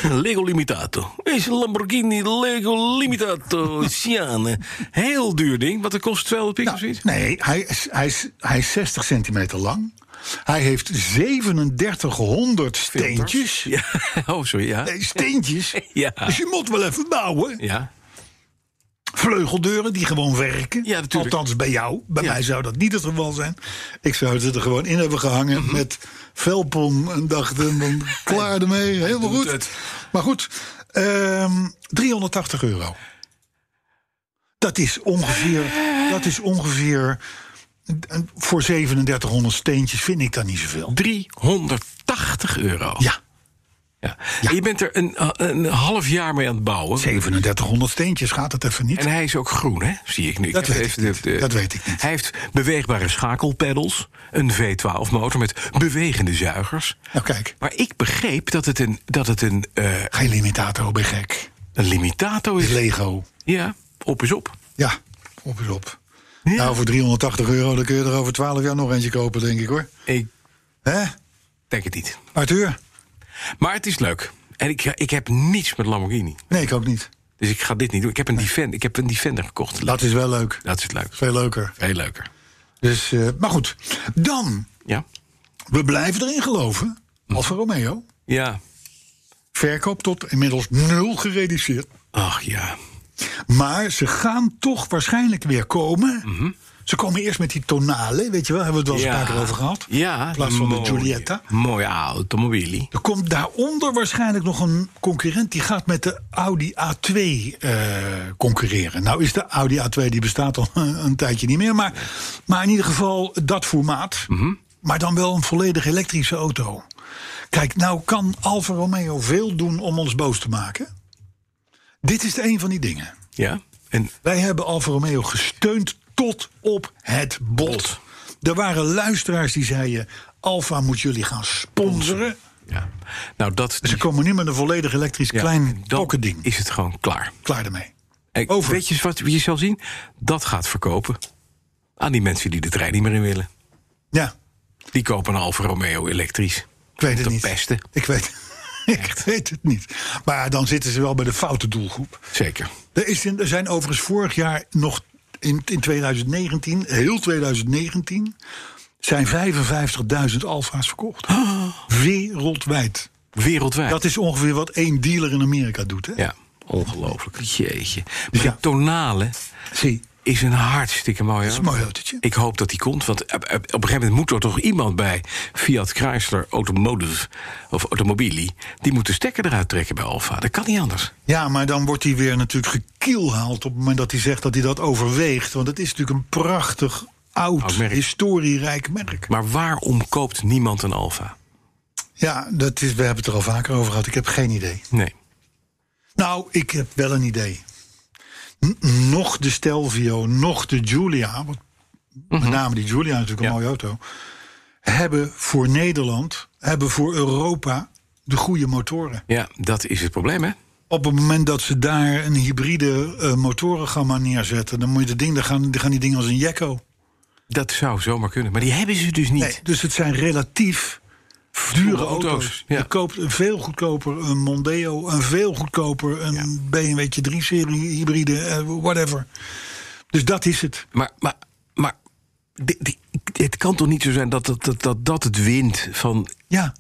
B: Lego Limitato. Is een Lamborghini Lego Limitato Siane. Heel duur ding, want dat kost 200 pik of
C: Nou,
B: zoiets.
C: nee, hij is, hij, is, hij is 60 centimeter lang. Hij heeft 3700 steentjes.
B: Ja, oh, sorry, ja.
C: nou. Nee, steentjes.
B: Ja.
C: Dus je moet wel even bouwen.
B: Ja,
C: Vleugeldeuren die gewoon werken.
B: Ja, natuurlijk.
C: Althans bij jou. Bij
B: Ja.
C: mij zou dat niet het geval zijn. Ik zou het er gewoon in hebben gehangen
B: Mhm.
C: met velpom. En dacht, en dan klaar ermee. Helemaal
B: Doet
C: goed.
B: het.
C: Maar goed, ehm, 380 euro. Dat is ongeveer... Dat is ongeveer eh, voor 3700 steentjes vind ik dat niet zoveel.
B: 380 euro.
C: Ja,
B: Ja. En Je bent er een, eh, een half jaar mee aan het bouwen.
C: 3700 steentjes gaat het even niet.
B: En hij is ook groen, hè? Zie ik nu.
C: Dat
B: heb
C: weet
B: even
C: ik niet. Dat weet ik niet.
B: Hij heeft beweegbare schakelpedals, een V12-motor met bewegende zuigers.
C: Nou kijk,
B: Maar ik begreep dat het een, dat het een, eh,
C: geen limitator, ben gek.
B: een limitato
C: Is
B: is.
C: Lego.
B: Ja, op is op.
C: Ja, op is op. Nou, voor 380 euro dan kun je er over 12 jaar nog eentje kopen, denk ik hoor.
B: Ik
C: Hè?
B: denk het niet.
C: Arthur?
B: Maar het is leuk. En ik, ik heb niets met Lamborghini.
C: Nee, ik ook niet.
B: Dus ik ga dit niet doen. Ik heb een Defender, ik heb een Defender gekocht.
C: Dat is wel leuk.
B: Dat is leuk.
C: Veel leuker.
B: Heel leuker.
C: Dus, eh, maar goed, dan.
B: Ja?
C: We blijven erin geloven.
B: Hm.
C: Alfa Romeo.
B: Ja.
C: Verkoop tot inmiddels nul gereduceerd.
B: Ach ja.
C: Maar ze gaan toch waarschijnlijk weer komen. Ze komen eerst met die tonale, weet je wel, hebben we het wel eens een paar keer over gehad.
B: Mhm. Ja.
C: in plaats van de
B: mooie-
C: Giulietta.
B: Mooie automobili.
C: Er komt daaronder waarschijnlijk nog een concurrent die gaat met de Audi A2 eh, concurreren. Nou is de Audi A2 die bestaat al een, een tijdje niet meer, maar, maar in ieder geval dat formaat. Maar dan wel een volledig elektrische auto. Kijk, nou kan Alfa Romeo veel doen om ons boos te maken. Dit is een van die dingen.
B: Ja. En
C: Wij hebben Alfa Romeo gesteund tot op het bot. Er waren luisteraars die zeiden: Alfa moet jullie gaan sponsoren.
B: ja. Nou, dat,
C: Dus Ze komen nu met een volledig elektrisch
B: ja,
C: klein
B: dan
C: pocketding.
B: is het gewoon klaar.
C: Klaar ermee.
B: En
C: Over.
B: Weet je wat je zal zien? Dat gaat verkopen aan die mensen die de trein niet meer in willen.
C: Ja,
B: Die kopen een Alfa Romeo elektrisch.
C: ik weet het
B: De
C: niet.
B: beste.
C: Ik weet, ik weet het niet. Maar dan zitten ze wel bij de foute doelgroep.
B: Zeker.
C: Er, is in- er zijn overigens vorig jaar nog in, in 2019, heel 2019, zijn 55.000 Alfa's verkocht. Wereldwijd.
B: Wereldwijd.
C: Dat is ongeveer wat één dealer in Amerika doet. Hè?
B: Ja, ongelooflijk. Jeetje. Maar
C: Ja.
B: die tonale
C: Zie,
B: is een hartstikke mooie
C: dat is
B: auto.
C: een mooi autootje.
B: Ik hoop dat die komt, want op op- op een gegeven moment moet er toch iemand bij Fiat Chrysler Automotive of Automobili, die moet de stekker eruit trekken bij Alfa. Dat kan niet anders.
C: Ja, maar dan wordt hij weer natuurlijk gekielhaald op het moment dat hij zegt dat hij dat overweegt. Want het is natuurlijk een prachtig, oud,
B: Oud merk.
C: historierijk merk.
B: Maar waarom koopt niemand een Alfa?
C: Ja, dat is, we hebben het er al vaker over gehad. Ik heb geen idee.
B: Nee.
C: Nou, ik heb wel een idee. N- nog de Stelvio, nog de Giulia, want met name die Giulia is natuurlijk een
B: Mhm. Ja.
C: mooie auto, hebben voor Nederland, hebben voor Europa de goede motoren.
B: Ja, dat is het probleem, hè?
C: op het moment dat ze daar een hybride eh, motorengamma neerzetten, dan moet je dat ding, dan gaan, dan gaan die dingen als een jekko.
B: Dat zou zomaar kunnen, maar die hebben ze dus niet.
C: Nee, dus het zijn relatief dure auto's.
B: auto's, ja.
C: Je koopt een veel goedkoper een Mondeo, een veel goedkoper een BMW 3-serie hybride, eh, whatever. Dus dat is het.
B: Maar, maar, maar di- di- het kan toch niet zo zijn dat dat, dat, dat, dat het wint van,
C: Ja,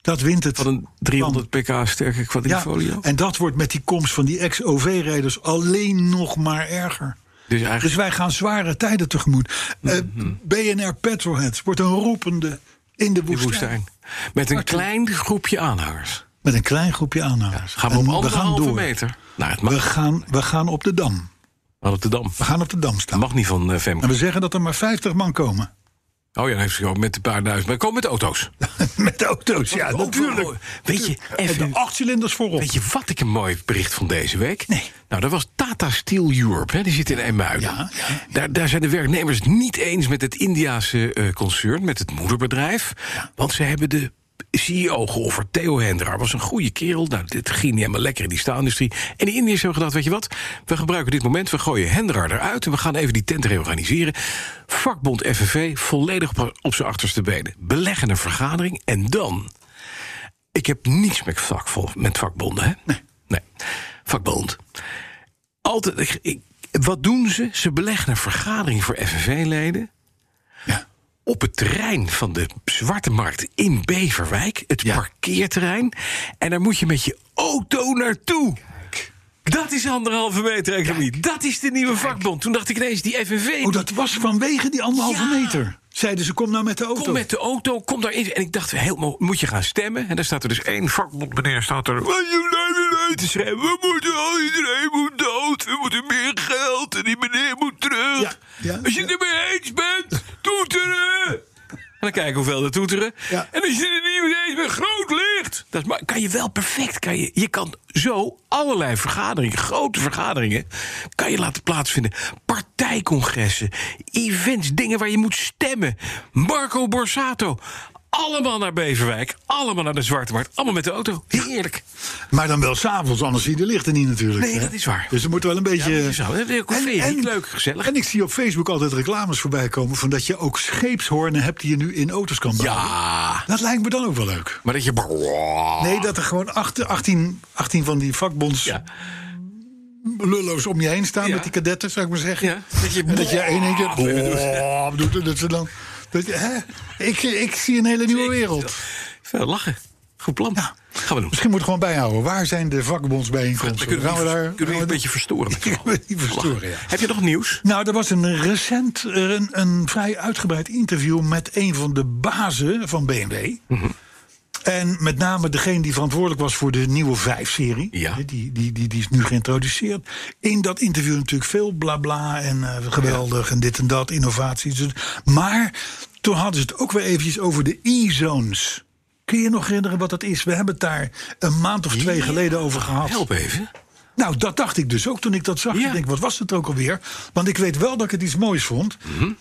C: dat wint het.
B: van een 300 pk sterke
C: ja,
B: quadrifolio?
C: en dat wordt met die komst van die ex-OV-rijders alleen nog maar erger.
B: Dus eigenlijk
C: Dus wij gaan zware tijden tegemoet. Eh, BNR Petrolheads wordt een roepende in de
B: Mhm. de
C: woestijn.
B: woestijn. Met een klein groepje aanhangers.
C: Met een klein groepje aanhangers.
B: Gaan we
C: Dus En
B: op
C: gaan
B: anderhalve
C: door.
B: meter naar het
C: We
B: mag.
C: gaan, we gaan op de dam.
B: Aan de dam.
C: We gaan op de dam
B: Dat
C: staan.
B: mag niet van eh, Femke.
C: En we zeggen dat er maar 50 man komen.
B: Oh ja, dan heeft ze gewoon met een paar duizend. Maar kom met auto's.
C: Met auto's, ja,
B: Ook wel mooi.
C: natuurlijk.
B: Weet je,
C: En de
B: even,
C: acht cilinders voorop.
B: weet je wat ik een mooi bericht van deze week?
C: Nee.
B: Nou, dat was Tata Steel Europe. Hè, die zit in IJmuiden.
C: Ja, ja.
B: Daar, daar zijn de werknemers het niet eens met het Indiase eh, concern, met het moederbedrijf. Want ze hebben de CEO geofferd, Theo Hendra. was een goede kerel. Nou, dit ging niet helemaal lekker in die staalindustrie. En die Indiërs hebben gedacht, weet je wat? We gebruiken dit moment, we gooien Hendra eruit... en we gaan even die tent reorganiseren. Vakbond FNV volledig op, op zijn achterste benen. Beleggen een vergadering en dan... Ik heb niets met, vakvol, met vakbonden, hè? Nee. nee. Vakbond. Altijd, ik- ik- wat doen ze? Ze beleggen een vergadering voor FNV-leden...
C: Ja.
B: op het terrein van de Zwarte Markt in Beverwijk. Het
C: Ja.
B: parkeerterrein. En daar moet je met je auto naartoe. Dat is anderhalve meter economie. Dat is de nieuwe vakbond. Toen dacht ik ineens, die FNV...
C: Oh, dat was vanwege die anderhalve
B: Ja.
C: meter. Zeiden ze, kom nou met de auto.
B: Kom met de auto, kom daarin. En ik dacht, helemaal, moet je gaan stemmen? En daar staat er dus één vakbond, meneer, staat er... "Wat je leidt eruit te schrijven. We moeten al iedereen moet dood. We moeten meer geld. En die meneer moet terug.
C: Ja, ja,
B: Als je het
C: ja.
B: er mee eens bent, toeteren! En dan kijken hoeveel dat toeteren.
C: Ja.
B: En als je er niet mee eens bent, groot licht! Dat is maar, kan je wel perfect. Kan je, je kan zo allerlei vergaderingen, grote vergaderingen... kan je laten plaatsvinden. Partijcongressen, events, dingen waar je moet stemmen. Marco Borsato. Allemaal naar Beverwijk, allemaal naar de Zwarte Markt. Allemaal met de auto. Heerlijk.
C: Maar dan wel s'avonds, anders zie je de lichten niet natuurlijk.
B: Nee,
C: hè?
B: dat is waar.
C: Dus er moet wel een beetje...
B: dat is zo. Dat is ook een feest. Leuk, gezellig.
C: En ik zie op Facebook altijd reclames voorbij komen... van dat je ook scheepshoornen hebt die je nu in auto's kan bouwen.
B: Ja,
C: Dat lijkt me dan ook wel leuk.
B: maar dat je...
C: Nee, dat er gewoon acht- 18, 18 van die vakbonds
B: Ja.
C: lullo's om je heen staan...
B: Ja.
C: met die kadetten, zou ik maar zeggen.
B: Ja, dat je-
C: en dat jij in één keer... boah, doet en dat ze dan... Dat, hè? Ik, ik zie een hele nieuwe wereld.
B: Veel lachen. Goed plan.
C: Ja.
B: Gaan we doen.
C: Misschien moeten we gewoon bijhouden. Waar zijn de
B: Dan
C: vakbondsbijeenkomsten?
B: kunnen we,
C: Gaan
B: die-
C: we daar-
B: kunnen we die
C: gaan
B: een
C: we-
B: beetje verstoren. met
C: Kunnen
B: z'n
C: we die
B: allen.
C: verstoren,
B: Lachen.
C: ja.
B: Heb je nog nieuws?
C: Nou, er was een recent, eh, een, een vrij uitgebreid interview met een van de bazen van BMW.
B: Mhm.
C: En met name degene die verantwoordelijk was voor de nieuwe 5-serie.
B: Ja.
C: Die, die, die, die is nu geïntroduceerd. In dat interview natuurlijk veel blabla en eh, geweldig en dit en dat, innovaties. Dus- Maar toen hadden ze het ook weer eventjes over de e-zones. Kun je je nog herinneren wat dat is? We hebben het daar een maand of twee geleden over gehad.
B: Help even.
C: Nou, dat dacht ik dus ook toen ik dat zag.
B: Ja.
C: Ik denk, wat was het ook alweer? Want ik weet wel dat ik het iets moois vond.
B: Mhm.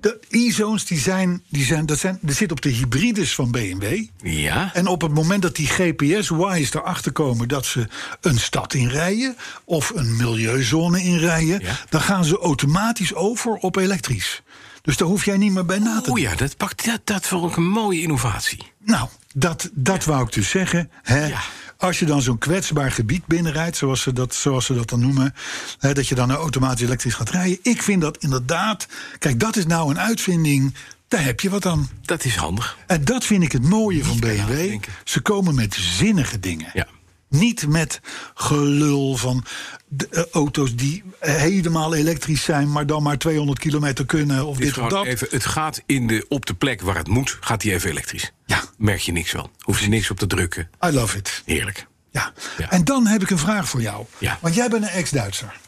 C: De e-zones, die zijn, die zijn, dat zijn, dat zit op de hybrides van BMW.
B: Ja.
C: En op het moment dat die GPS-wise erachter komen dat ze een stad inrijden of een milieuzone inrijden,
B: Ja.
C: dan gaan ze automatisch over op elektrisch. Dus daar hoef jij niet meer bij na te denken.
B: O ja, dat, pakt, dat, dat vond ik een mooie innovatie.
C: Nou, dat, dat wou ik dus zeggen. Hè?
B: Ja.
C: Als je dan zo'n kwetsbaar gebied binnenrijdt, zoals ze dat, zoals ze dat dan noemen, hè, dat je dan nou automatisch elektrisch gaat rijden. Ik vind dat inderdaad. Kijk, dat is nou een uitvinding. Daar heb je wat aan.
B: Dat is handig.
C: En dat vind ik het mooie van
B: meer
C: BMW.
B: nadenken.
C: Ze komen met zinnige dingen.
B: Ja.
C: Niet met gelul van de, eh, auto's die helemaal elektrisch zijn, maar dan maar 200 kilometer kunnen of
B: Het, is
C: dit of
B: gewoon
C: dat.
B: even, het gaat in de, op de plek waar het moet, gaat hij even elektrisch.
C: Ja.
B: Merk je niks van. Hoef je niks op te drukken.
C: I love it.
B: Heerlijk.
C: Ja.
B: Ja.
C: En dan heb ik een vraag voor jou.
B: Ja.
C: Want jij bent een ex-Duitser.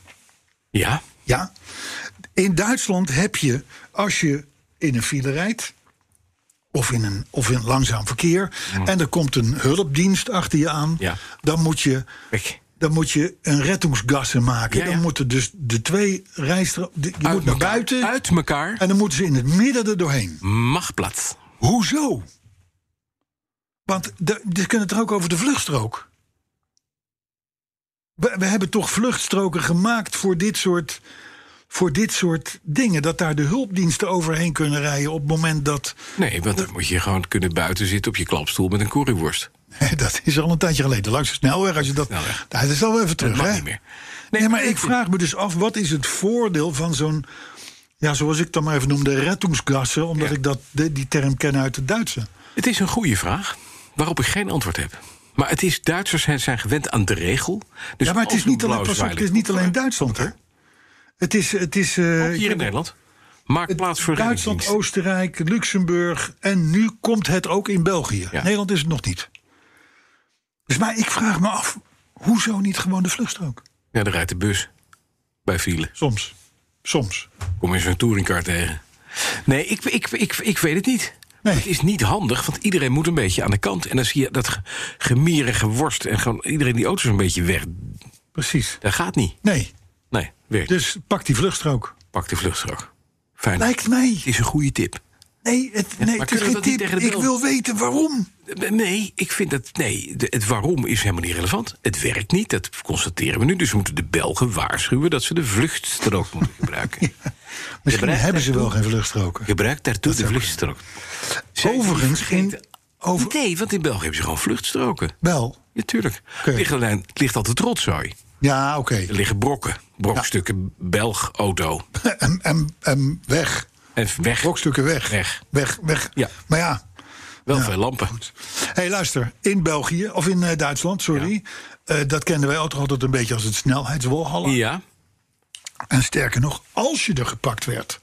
B: Ja.
C: Ja. In Duitsland heb je, als je in een file rijdt. Of in, een, of in langzaam verkeer. En er komt een hulpdienst achter je aan.
B: Mm. Ja.
C: Dan, moet je,
B: Weg.
C: dan moet je een rettungsgasse maken.
B: Ja, ja.
C: Dan moeten dus de twee rijstroken. Je moet naar
B: elkaar.
C: buiten.
B: Uit elkaar.
C: En dan moeten ze in het midden er doorheen.
B: Mag plaats.
C: Hoezo? Want de- ze kunnen het er ook over de vluchtstrook. We, we hebben toch vluchtstroken gemaakt voor dit, soort, voor dit soort dingen. Dat daar de hulpdiensten overheen kunnen rijden op het moment dat.
B: Nee, want dan moet je gewoon kunnen buiten zitten op je klapstoel met een curryworst.
C: Dat is al een tijdje geleden. Langs de snelweg, als je dat.
B: Snelweg.
C: Nou, dat is al wel even
B: Dat
C: terug,
B: mag
C: hè?
B: niet meer.
C: Nee, maar ik
B: dat-
C: vraag me dus af, wat is het voordeel van zo'n. Ja, zoals ik dan maar even noemde, rettungsgassen, omdat
B: Ja.
C: ik dat, die die term ken uit het Duitse.
B: Het is een goede vraag, waarop ik geen antwoord heb. Maar het is, Duitsers zijn- zijn gewend aan de regel. Dus
C: ja, maar het
B: als
C: is,
B: een
C: niet alleen,
B: blauwe
C: pas op, het is
B: zwaailicht
C: niet alleen
B: opkomt,
C: Duitsland, hè? Het is. Het is eh,
B: ook hier in Nederland. Maak plaats voor
C: Duitsland,
B: reddingsdienst.
C: Oostenrijk, Luxemburg. En nu komt het ook in België.
B: Ja.
C: Nederland is het nog niet. Dus maar ik vraag me af, hoezo niet gewoon de vluchtstrook?
B: Ja, daar rijdt de bus. Bij file.
C: Soms. Soms.
B: Kom eens een touringcar tegen. Nee, ik, ik, ik, ik weet het niet.
C: Nee.
B: Het is niet handig, want iedereen moet een beetje aan de kant. En dan zie je dat ge- gemierige worst en gewoon iedereen die auto's een beetje weg.
C: Precies.
B: Dat gaat niet.
C: Nee.
B: Nee, werkt.
C: Dus pak die vluchtstrook.
B: Pak de vluchtstrook. Fijn.
C: Lijkt mij.
B: Het is een goede tip.
C: Nee, het, nee,
B: maar
C: het
B: kunnen
C: is
B: we
C: geen
B: dat niet
C: tip.
B: tegen de
C: Ik
B: beeld?
C: wil weten waarom.
B: Eh, Nee, ik vind dat. Nee, de- het waarom is helemaal niet relevant. Het werkt niet, dat constateren we nu. Dus we moeten de Belgen waarschuwen dat ze de vluchtstrook moeten gebruiken.
C: Misschien
B: bereikt
C: hebben ze
B: echt
C: wel geen vluchtstroken.
B: Gebruik daartoe de vluchtstrook. Zij
C: Overigens,
B: vergeten
C: in- Over...
B: Nee, want in België hebben ze gewoon vluchtstroken.
C: Wel.
B: Natuurlijk.
C: Oké.
B: Ligt, alleen- het ligt altijd rotzooi.
C: Ja, oké.
B: Er liggen brokken. Brokstukken Belg auto.
C: Eh, En, en, en weg.
B: En weg.
C: Brokstukken weg.
B: Weg.
C: Weg, weg.
B: Ja.
C: Maar ja.
B: Wel veel lampen.
C: Hé, hey, luister. In België, of in eh, Duitsland, sorry. eh, dat kenden wij ook toch altijd een beetje als het snelheidswalhalla.
B: Ja.
C: En sterker nog, als je er gepakt werd,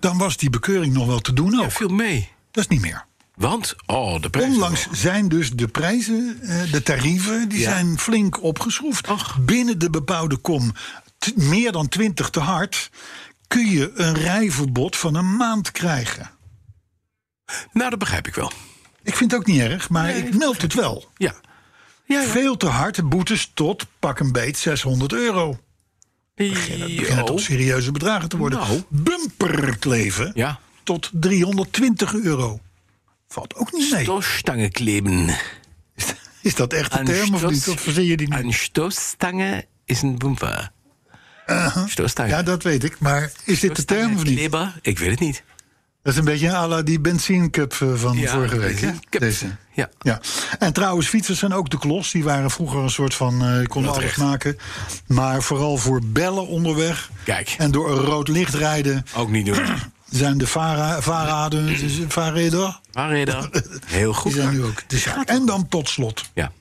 C: dan was die bekeuring nog wel te doen ook.
B: Mhm. ja. Viel mee.
C: Dat is niet meer.
B: Want, oh, de prijs.
C: Onlangs zijn dus de prijzen, eh, de tarieven, die
B: Ja.
C: zijn flink opgeschroefd. Binnen de bebouwde kom, t- meer dan 20 te hard, kun je een rijverbod van een maand krijgen.
B: Nou, dat begrijp ik wel.
C: Ik vind het ook niet erg, maar ik meld het wel.
B: Ja. Ja, ja.
C: Veel te hard boetes tot pak een beet 600 euro. Beginnen
B: Oh.
C: tot serieuze bedragen te worden.
B: Nou.
C: Bumperkleven
B: Ja.
C: tot 320 euro. Valt ook niet mee.
B: Stoßstange kleben.
C: Is dat echt de
B: Een
C: term of
B: stot-
C: niet? Of verzin je die niet?
B: Een stoßstange is een bumper. Stoßstange.
C: Uh-huh. Ja, dat weet ik. Maar is dit de term of niet?
B: Kleber? Ik weet het niet.
C: Dat is een beetje à la die benzinecup eh, van
B: Ja,
C: vorige week. hè?
B: benzinecup.
C: Deze.
B: Ja.
C: ja. En trouwens, fietsers zijn ook de klos. Die waren vroeger een soort van, eh konden
B: Dat
C: alles
B: recht.
C: maken. Maar vooral voor bellen onderweg.
B: Kijk.
C: En door een rood licht rijden
B: Ook niet doen.
C: zijn de vara- vaarraden, vaarreder,
B: Maar je dan? Heel goed.
C: die zijn nu ook. Dus ja, en dan tot slot.
B: Ja.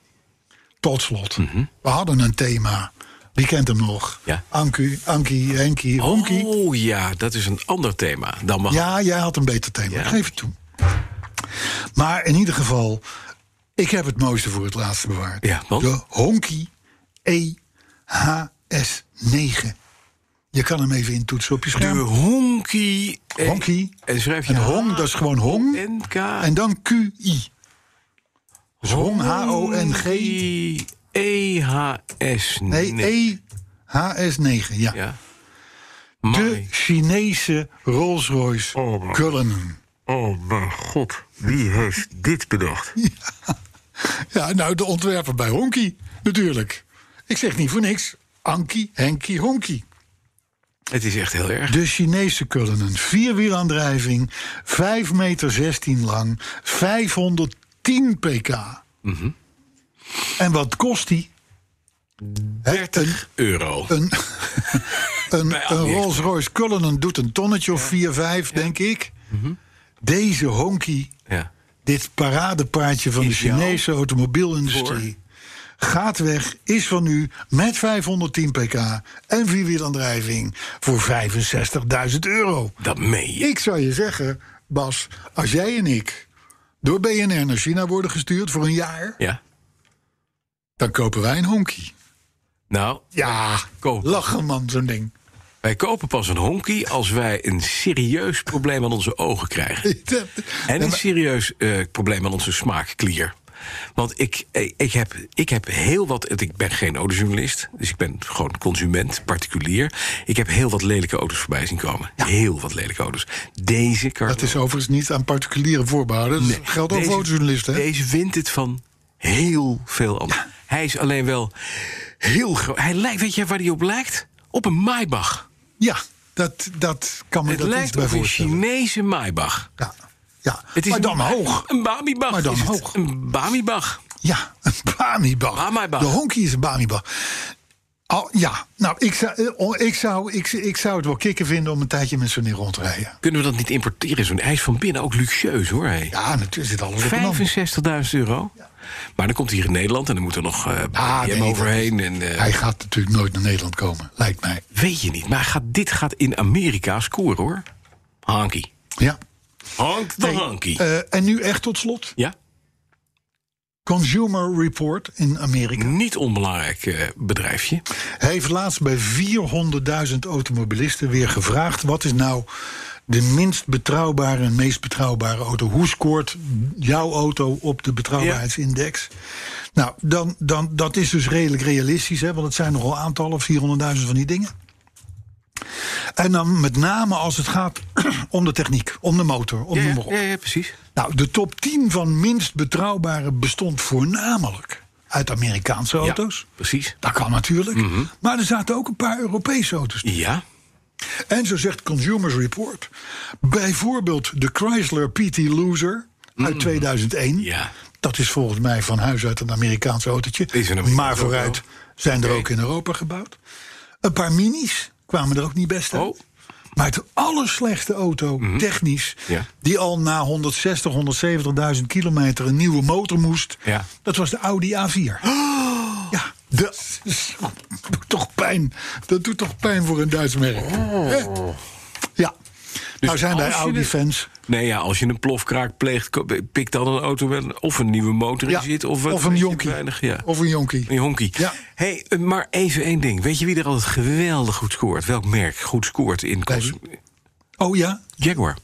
C: Tot slot. We hadden een thema. Wie kent hem nog?
B: Mhm. Ja.
C: Anku, Ankie, Henkie, Honkie.
B: Oh ja, dat is een ander thema. Dan mag
C: Ja, jij had een beter thema.
B: Oh. Ja.
C: Ik geef het toe. Maar in ieder geval, ik heb het mooiste voor het laatst bewaard.
B: Ja, want?
C: De Honky E EHS9. Je kan hem even intoetsen op je
B: de
C: scherm.
B: honky. eh,
C: Honky.
B: En schrijf je
C: En Hong, dat is gewoon Hong.
B: NK.
C: En dan QI. Dus Hong, H-O-N-G.
B: E E-H-S.
C: Nee, E EHS9. Ja.
B: Ja.
C: De
B: Mooi.
C: Chinese Rolls-Royce Cullinan.
D: Oh mijn god, wie heeft dit bedacht?
C: Ja, nou, de ontwerper bij Honky, natuurlijk. Ik zeg niet voor niks. Anki, Henky, Honky.
B: Het is echt heel erg.
C: De Chinese Cullinan. Vierwielaandrijving, 5 meter 16 lang, 510 pk. En wat kost die? Hè,
B: Euro.
C: Een, een, een,
B: Bij
C: een
B: AliExpress.
C: Rolls-Royce Cullinan doet een tonnetje of 4, 5, denk ik. Deze Honky
B: Ja.
C: dit paradepaardje van de
B: Ideaal
C: Chinese automobielindustrie gaat weg, is van u met 510 pk en vierwielaandrijving voor 65.000 euro.
B: Dat meen je.
C: Ik zou je zeggen, Bas, als jij en ik door BNR naar China worden gestuurd voor een jaar,
B: Ja.
C: dan kopen wij een honkie.
B: Nou,
C: Ja,
B: koop.
C: lachen man, zo'n ding.
B: wij kopen pas een honky als wij een serieus probleem aan onze ogen krijgen. En een serieus eh, probleem aan onze smaakklier. Want ik, eh, ik, heb, ik heb heel wat. Ik ben geen autojournalist, dus ik ben gewoon consument, particulier. Ik heb heel wat lelijke auto's voorbij zien komen. Heel wat lelijke auto's. Deze Carlo,
C: Dat is overigens niet aan particuliere voorbehouden. Dat geldt ook
B: deze-
C: voor autojournalisten. hè?
B: Deze wint het van heel veel anders. Hij is alleen wel heel groot. Hij lijkt, weet je waar hij op lijkt? Op een Maybach.
C: Ja, dat, dat kan me
B: het
C: dat
B: lijkt
C: iets bij
B: op een
C: voorstellen.
B: Chinese Maybach.
C: Ja, ja.
B: Het is
C: maar dan
B: een-
C: hoog.
B: Een Bamibach.
C: Maar dan
B: is het.
C: hoog.
B: Een Bamibach.
C: Ja, een Bamibag.
B: Bamibag.
C: De honkie is een Bamibag. Al- ja, nou, ik zou, eh, oh, ik, zou, ik, ik zou het wel kicken vinden om een tijdje met zo'n ding rond te rijden.
B: Kunnen we dat niet importeren? Zo'n ijs van binnen ook luxueus hoor. hé.
C: Ja, natuurlijk zit alles op een ander.
B: 65.000 euro. Maar dan komt hij hier in Nederland en dan moet er nog eh
C: Ah,
B: BM
C: nee, dat
B: overheen.
C: is-
B: En, eh,
C: Hij gaat natuurlijk nooit naar Nederland komen, lijkt mij.
B: Weet je niet. Maar gaat, dit gaat in Amerika scoren hoor. Hanky.
C: Ja.
B: Hank de
C: Nee,
B: Hanky.
C: eh, en nu echt tot slot.
B: ja?
C: Consumer Report in Amerika
B: Niet onbelangrijk eh, bedrijfje.
C: heeft laatst bij 400.000 automobilisten weer gevraagd... wat is nou de minst betrouwbare en meest betrouwbare auto? Hoe scoort jouw auto op de betrouwbaarheidsindex? Nou, dan, dan, dat is dus redelijk realistisch, hè, want het zijn nogal aantallen, 400.000 van die dingen. En dan met name als het gaat om de techniek, om de motor, om
B: Ja,
C: de
B: ja,
C: motor.
B: ja, ja, precies.
C: Nou, de top 10 van minst betrouwbare bestond voornamelijk uit Amerikaanse auto's.
B: Ja, precies.
C: Dat kan natuurlijk.
B: Mhm.
C: Maar er zaten ook een paar Europese auto's.
B: Ja.
C: En zo zegt Consumers Report. Bijvoorbeeld de Chrysler PT Loser uit 2001.
B: Mhm. Ja.
C: Dat is volgens mij van huis uit een Amerikaans autootje.
B: Is een Amerikaans
C: maar
B: auto.
C: vooruit zijn er
B: Oké.
C: ook in Europa gebouwd. Een paar minis kwamen er ook niet best uit.
B: Oh. Mhm.
C: Maar het allerslechtste auto, technisch,
B: Ja.
C: die al na 160, 170.000 kilometer een nieuwe motor moest,
B: Ja.
C: dat was de Audi A4. Ja, dat is- doet toch pijn. Dat doet toch pijn voor een Duits merk. Hè? Ja. nou zijn wij
B: als je
C: Audi-fans.
B: Nee, ja, als je een plofkraak pleegt, ko- pik dan een auto met of een nieuwe motor in
C: Ja,
B: zit. Of,
C: of,
B: wat
C: een
B: weet je,
C: jonkie.
B: weinig, ja.
C: Of een jonkie.
B: Een honkie.
C: Ja.
B: Hey, eh, maar even één ding. Weet je wie er altijd geweldig goed scoort? Welk merk goed scoort in
C: Bij
B: cons-
C: Oh ja,
B: Jaguar?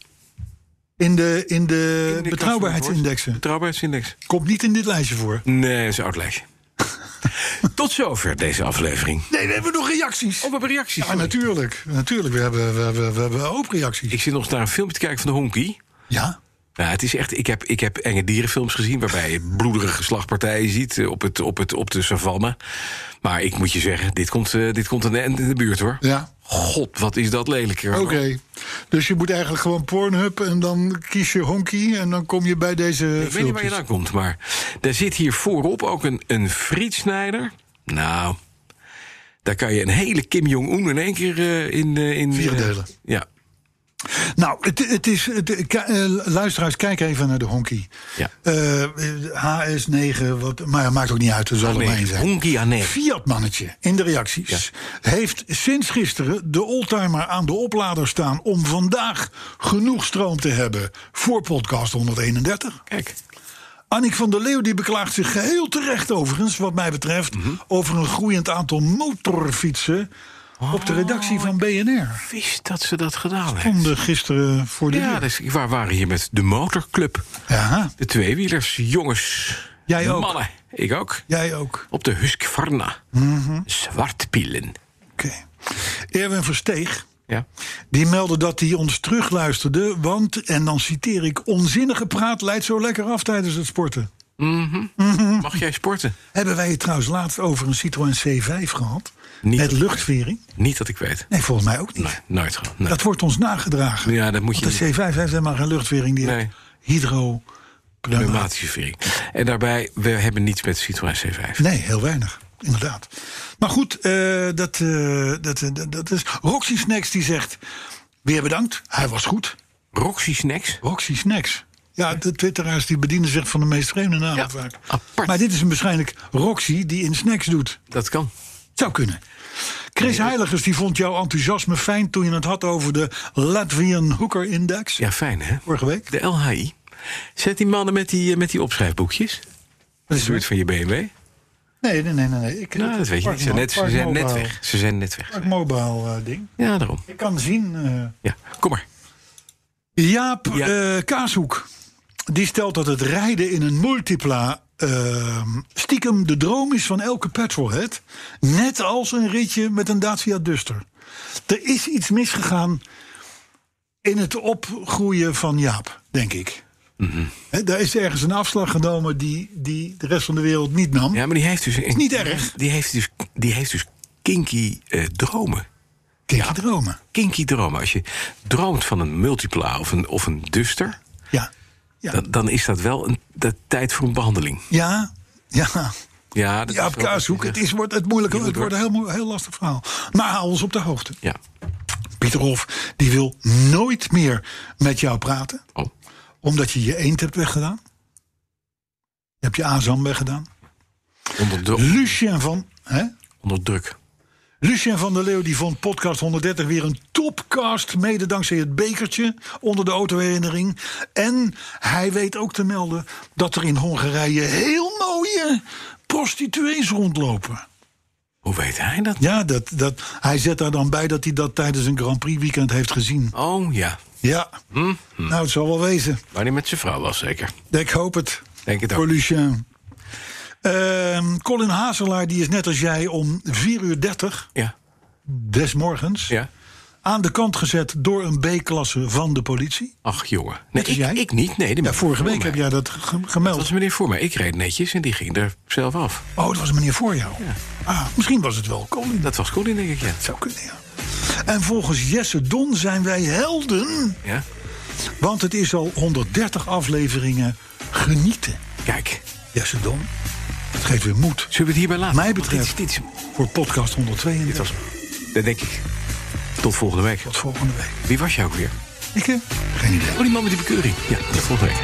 C: in de, in de
B: In de
C: betrouwbaarheidsindexen.
B: Betrouwbaarheidsindex.
C: Komt niet in dit lijstje voor.
B: Nee, dat is een oud lijstje. Tot zover deze aflevering. Oh,
C: Nee, we hebben nog reacties.
B: we hebben reacties.
C: Ja, natuurlijk. Natuurlijk, we hebben, we hebben, we hebben ook reacties.
B: Ik zit nog naar een filmpje te kijken van de honkie.
C: Ja,
B: Nou, het is echt, ik, heb, ik heb enge dierenfilms gezien waarbij je bloederige slagpartijen ziet eh, op, het, op, het, op de savanne. Maar ik moet je zeggen, dit komt, eh, dit komt aan de, aan de buurt hoor.
C: ja.
B: God, wat is dat lelijk. hoor.
C: Oké. Dus je moet eigenlijk gewoon Pornhub en dan kies je Honky en dan kom je bij deze
B: Ik weet niet waar je dan komt, maar er zit hier voorop ook een, een frietsnijder. Nou, daar kan je een hele Kim Jong-un in één keer eh, in... eh, in
C: Vier
B: eh,
C: delen.
B: ja.
C: Nou, het, het is. het- k- eh, luisteraars, kijk even naar de honky.
B: Ja.
C: Eh, HS9, wat, maar ja, maakt ook niet uit, er zal er maar één
B: Nee,
C: zijn.
B: honky aan nee.
C: Fiat-mannetje in de reacties heeft sinds gisteren de oldtimer aan de oplader staan om vandaag genoeg stroom te hebben voor podcast 131.
B: Kijk,
C: Annick van der Leeuw die beklaagt zich geheel terecht overigens, wat mij betreft,
B: Mhm.
C: over een groeiend aantal motorfietsen op de redactie van BNR.
B: wist dat ze dat gedaan hebben.
C: Stonden gisteren voor de
B: Ja,
C: deur.
B: dus, waar waren hier met de motorclub?
C: Ja,
B: De tweewielers, jongens.
C: Jij ook.
B: Mannen, ik ook.
C: jij ook.
B: Op de Husqvarna.
C: Mhm.
B: Zwartpielen.
C: Oké. Erwin Versteeg,
B: Ja.
C: die meldde dat hij ons terugluisterde, want, en dan citeer ik, onzinnige praat leidt zo lekker af tijdens het sporten. Mhm.
B: Mag jij sporten?
C: Hebben wij het trouwens laatst over een Citroën C5 gehad?
B: Niet
C: met
B: dat-
C: luchtvering?
B: Niet dat ik weet.
C: Nee, volgens mij ook niet.
B: Nee, nooit gedaan. Nee.
C: Dat wordt ons nagedragen.
B: Ja, dat moet je
C: Want de C5 heeft helemaal geen luchtvering. Die
B: Nee.
C: heeft hydro
B: Pneumatische vering. En daarbij, we hebben niets met Citroën C5.
C: Nee, heel weinig. Inderdaad. Maar goed, eh, dat, eh, dat, eh, dat, dat is... Roxy Snacks die zegt... Weer bedankt, hij was goed.
B: Roxy Snacks?
C: Roxy Snacks. Ja, de twitteraars die bedienen zich van de meest vreemde namen
B: Ja,
C: vaak.
B: apart.
C: Maar dit is een waarschijnlijk Roxy die in snacks doet.
B: Dat kan.
C: Zou kunnen. Chris Heiligers die vond jouw enthousiasme fijn toen je het had over de Latvian Hooker Index.
B: Ja, fijn hè?
C: Vorige week.
B: De LHI. Zet die mannen met die, eh, met die opschrijfboekjes.
C: Dat
B: De buurt van je BMW.
C: Nee, nee, nee, nee. nee. Ik,
B: Nou, dat weet je
C: Park
B: niet. Ze, zijn
C: Mo-
B: net, ze
C: Park
B: zijn net
C: Mobile-
B: weg. Ze zijn net weg.
C: Park Mobile eh, ding.
B: Ja, daarom.
C: Ik kan zien. eh,
B: Ja, kom maar.
C: Jaap
B: Ja.
C: eh, Kaashoek. Die stelt dat het rijden in een multipla eh, stiekem de droom is van elke petrolhead. Net als een ritje met een Dacia Duster. Er is iets misgegaan in het opgroeien van Jaap, denk ik.
B: Mhm.
C: Hè, daar is ergens een afslag genomen die, die de rest van de wereld niet nam.
B: Ja, maar die heeft dus... Is
C: niet erg.
B: Die heeft dus, die heeft dus kinky eh, dromen.
C: Kijk je dromen.
B: Kinky dromen. Als je droomt van een multipla of een, of een duster...
C: Ja. Ja.
B: Dan, dan is dat wel een, de tijd voor een behandeling.
C: ja. Ja.
B: Ja, dat
C: Jaap
B: is wel-
C: Kaashoek. Het, is, wordt, het, moeilijke, het wordt een heel, moe- heel lastig verhaal. Maar haal ons op de hoogte.
B: Ja.
C: Pieter Hof, die wil nooit meer met jou praten.
B: Oh.
C: Omdat je je eend hebt weggedaan. Je hebt je azam weggedaan.
B: Onder, dru-
C: Lucien van, hè?
B: onder druk.
C: Lucien van der Leeuw die vond podcast 130 weer een topcast. Mede dankzij het bekertje onder de autoherinnering. En hij weet ook te melden dat er in Hongarije heel mooie prostituees rondlopen.
B: Hoe weet hij dat?
C: Ja, dat, dat, hij zet daar dan bij dat hij dat tijdens een Grand Prix weekend heeft gezien.
B: Oh ja,
C: Ja,
B: Hmm? Hm.
C: nou het zal wel wezen.
B: maar die met zijn vrouw was zeker.
C: Ik hoop het.
B: Denk het ook.
C: Voor Lucien. Ehm, Colin Hazelaar die is net als jij om 4 uur 30
B: Ja,
C: des morgens
B: ja.
C: aan de kant gezet door een B-klasse van de politie.
B: Ach jongen. Nee,
C: is
B: ik,
C: jij?
B: ik niet. Nee, die
C: Ja,
B: man
C: vorige
B: voor
C: week
B: mij.
C: heb jij dat ge-
B: Dat
C: gemeld.
B: was een meneer voor mij. Ik reed netjes en die ging er zelf af.
C: Oh, dat was een meneer voor jou. Ah, misschien was het wel Colin.
B: Dat was Colin, denk ik, ja.
C: Dat zou kunnen, ja. En volgens Jesse Don zijn wij helden
B: ja.
C: Want het is al 130 afleveringen genieten.
B: Kijk,
C: Jesse Don, het geeft weer moed.
B: zullen we het hierbij laten?
C: Mij
B: Want
C: betreft
B: Dit is, dit
C: voor podcast 132.
B: was, dat denk ik. Tot volgende week.
C: Tot volgende week.
B: Wie was jij ook weer?
C: Ik heb geen idee.
B: Oh, die man met die bekeuring. Ja, tot volgende week.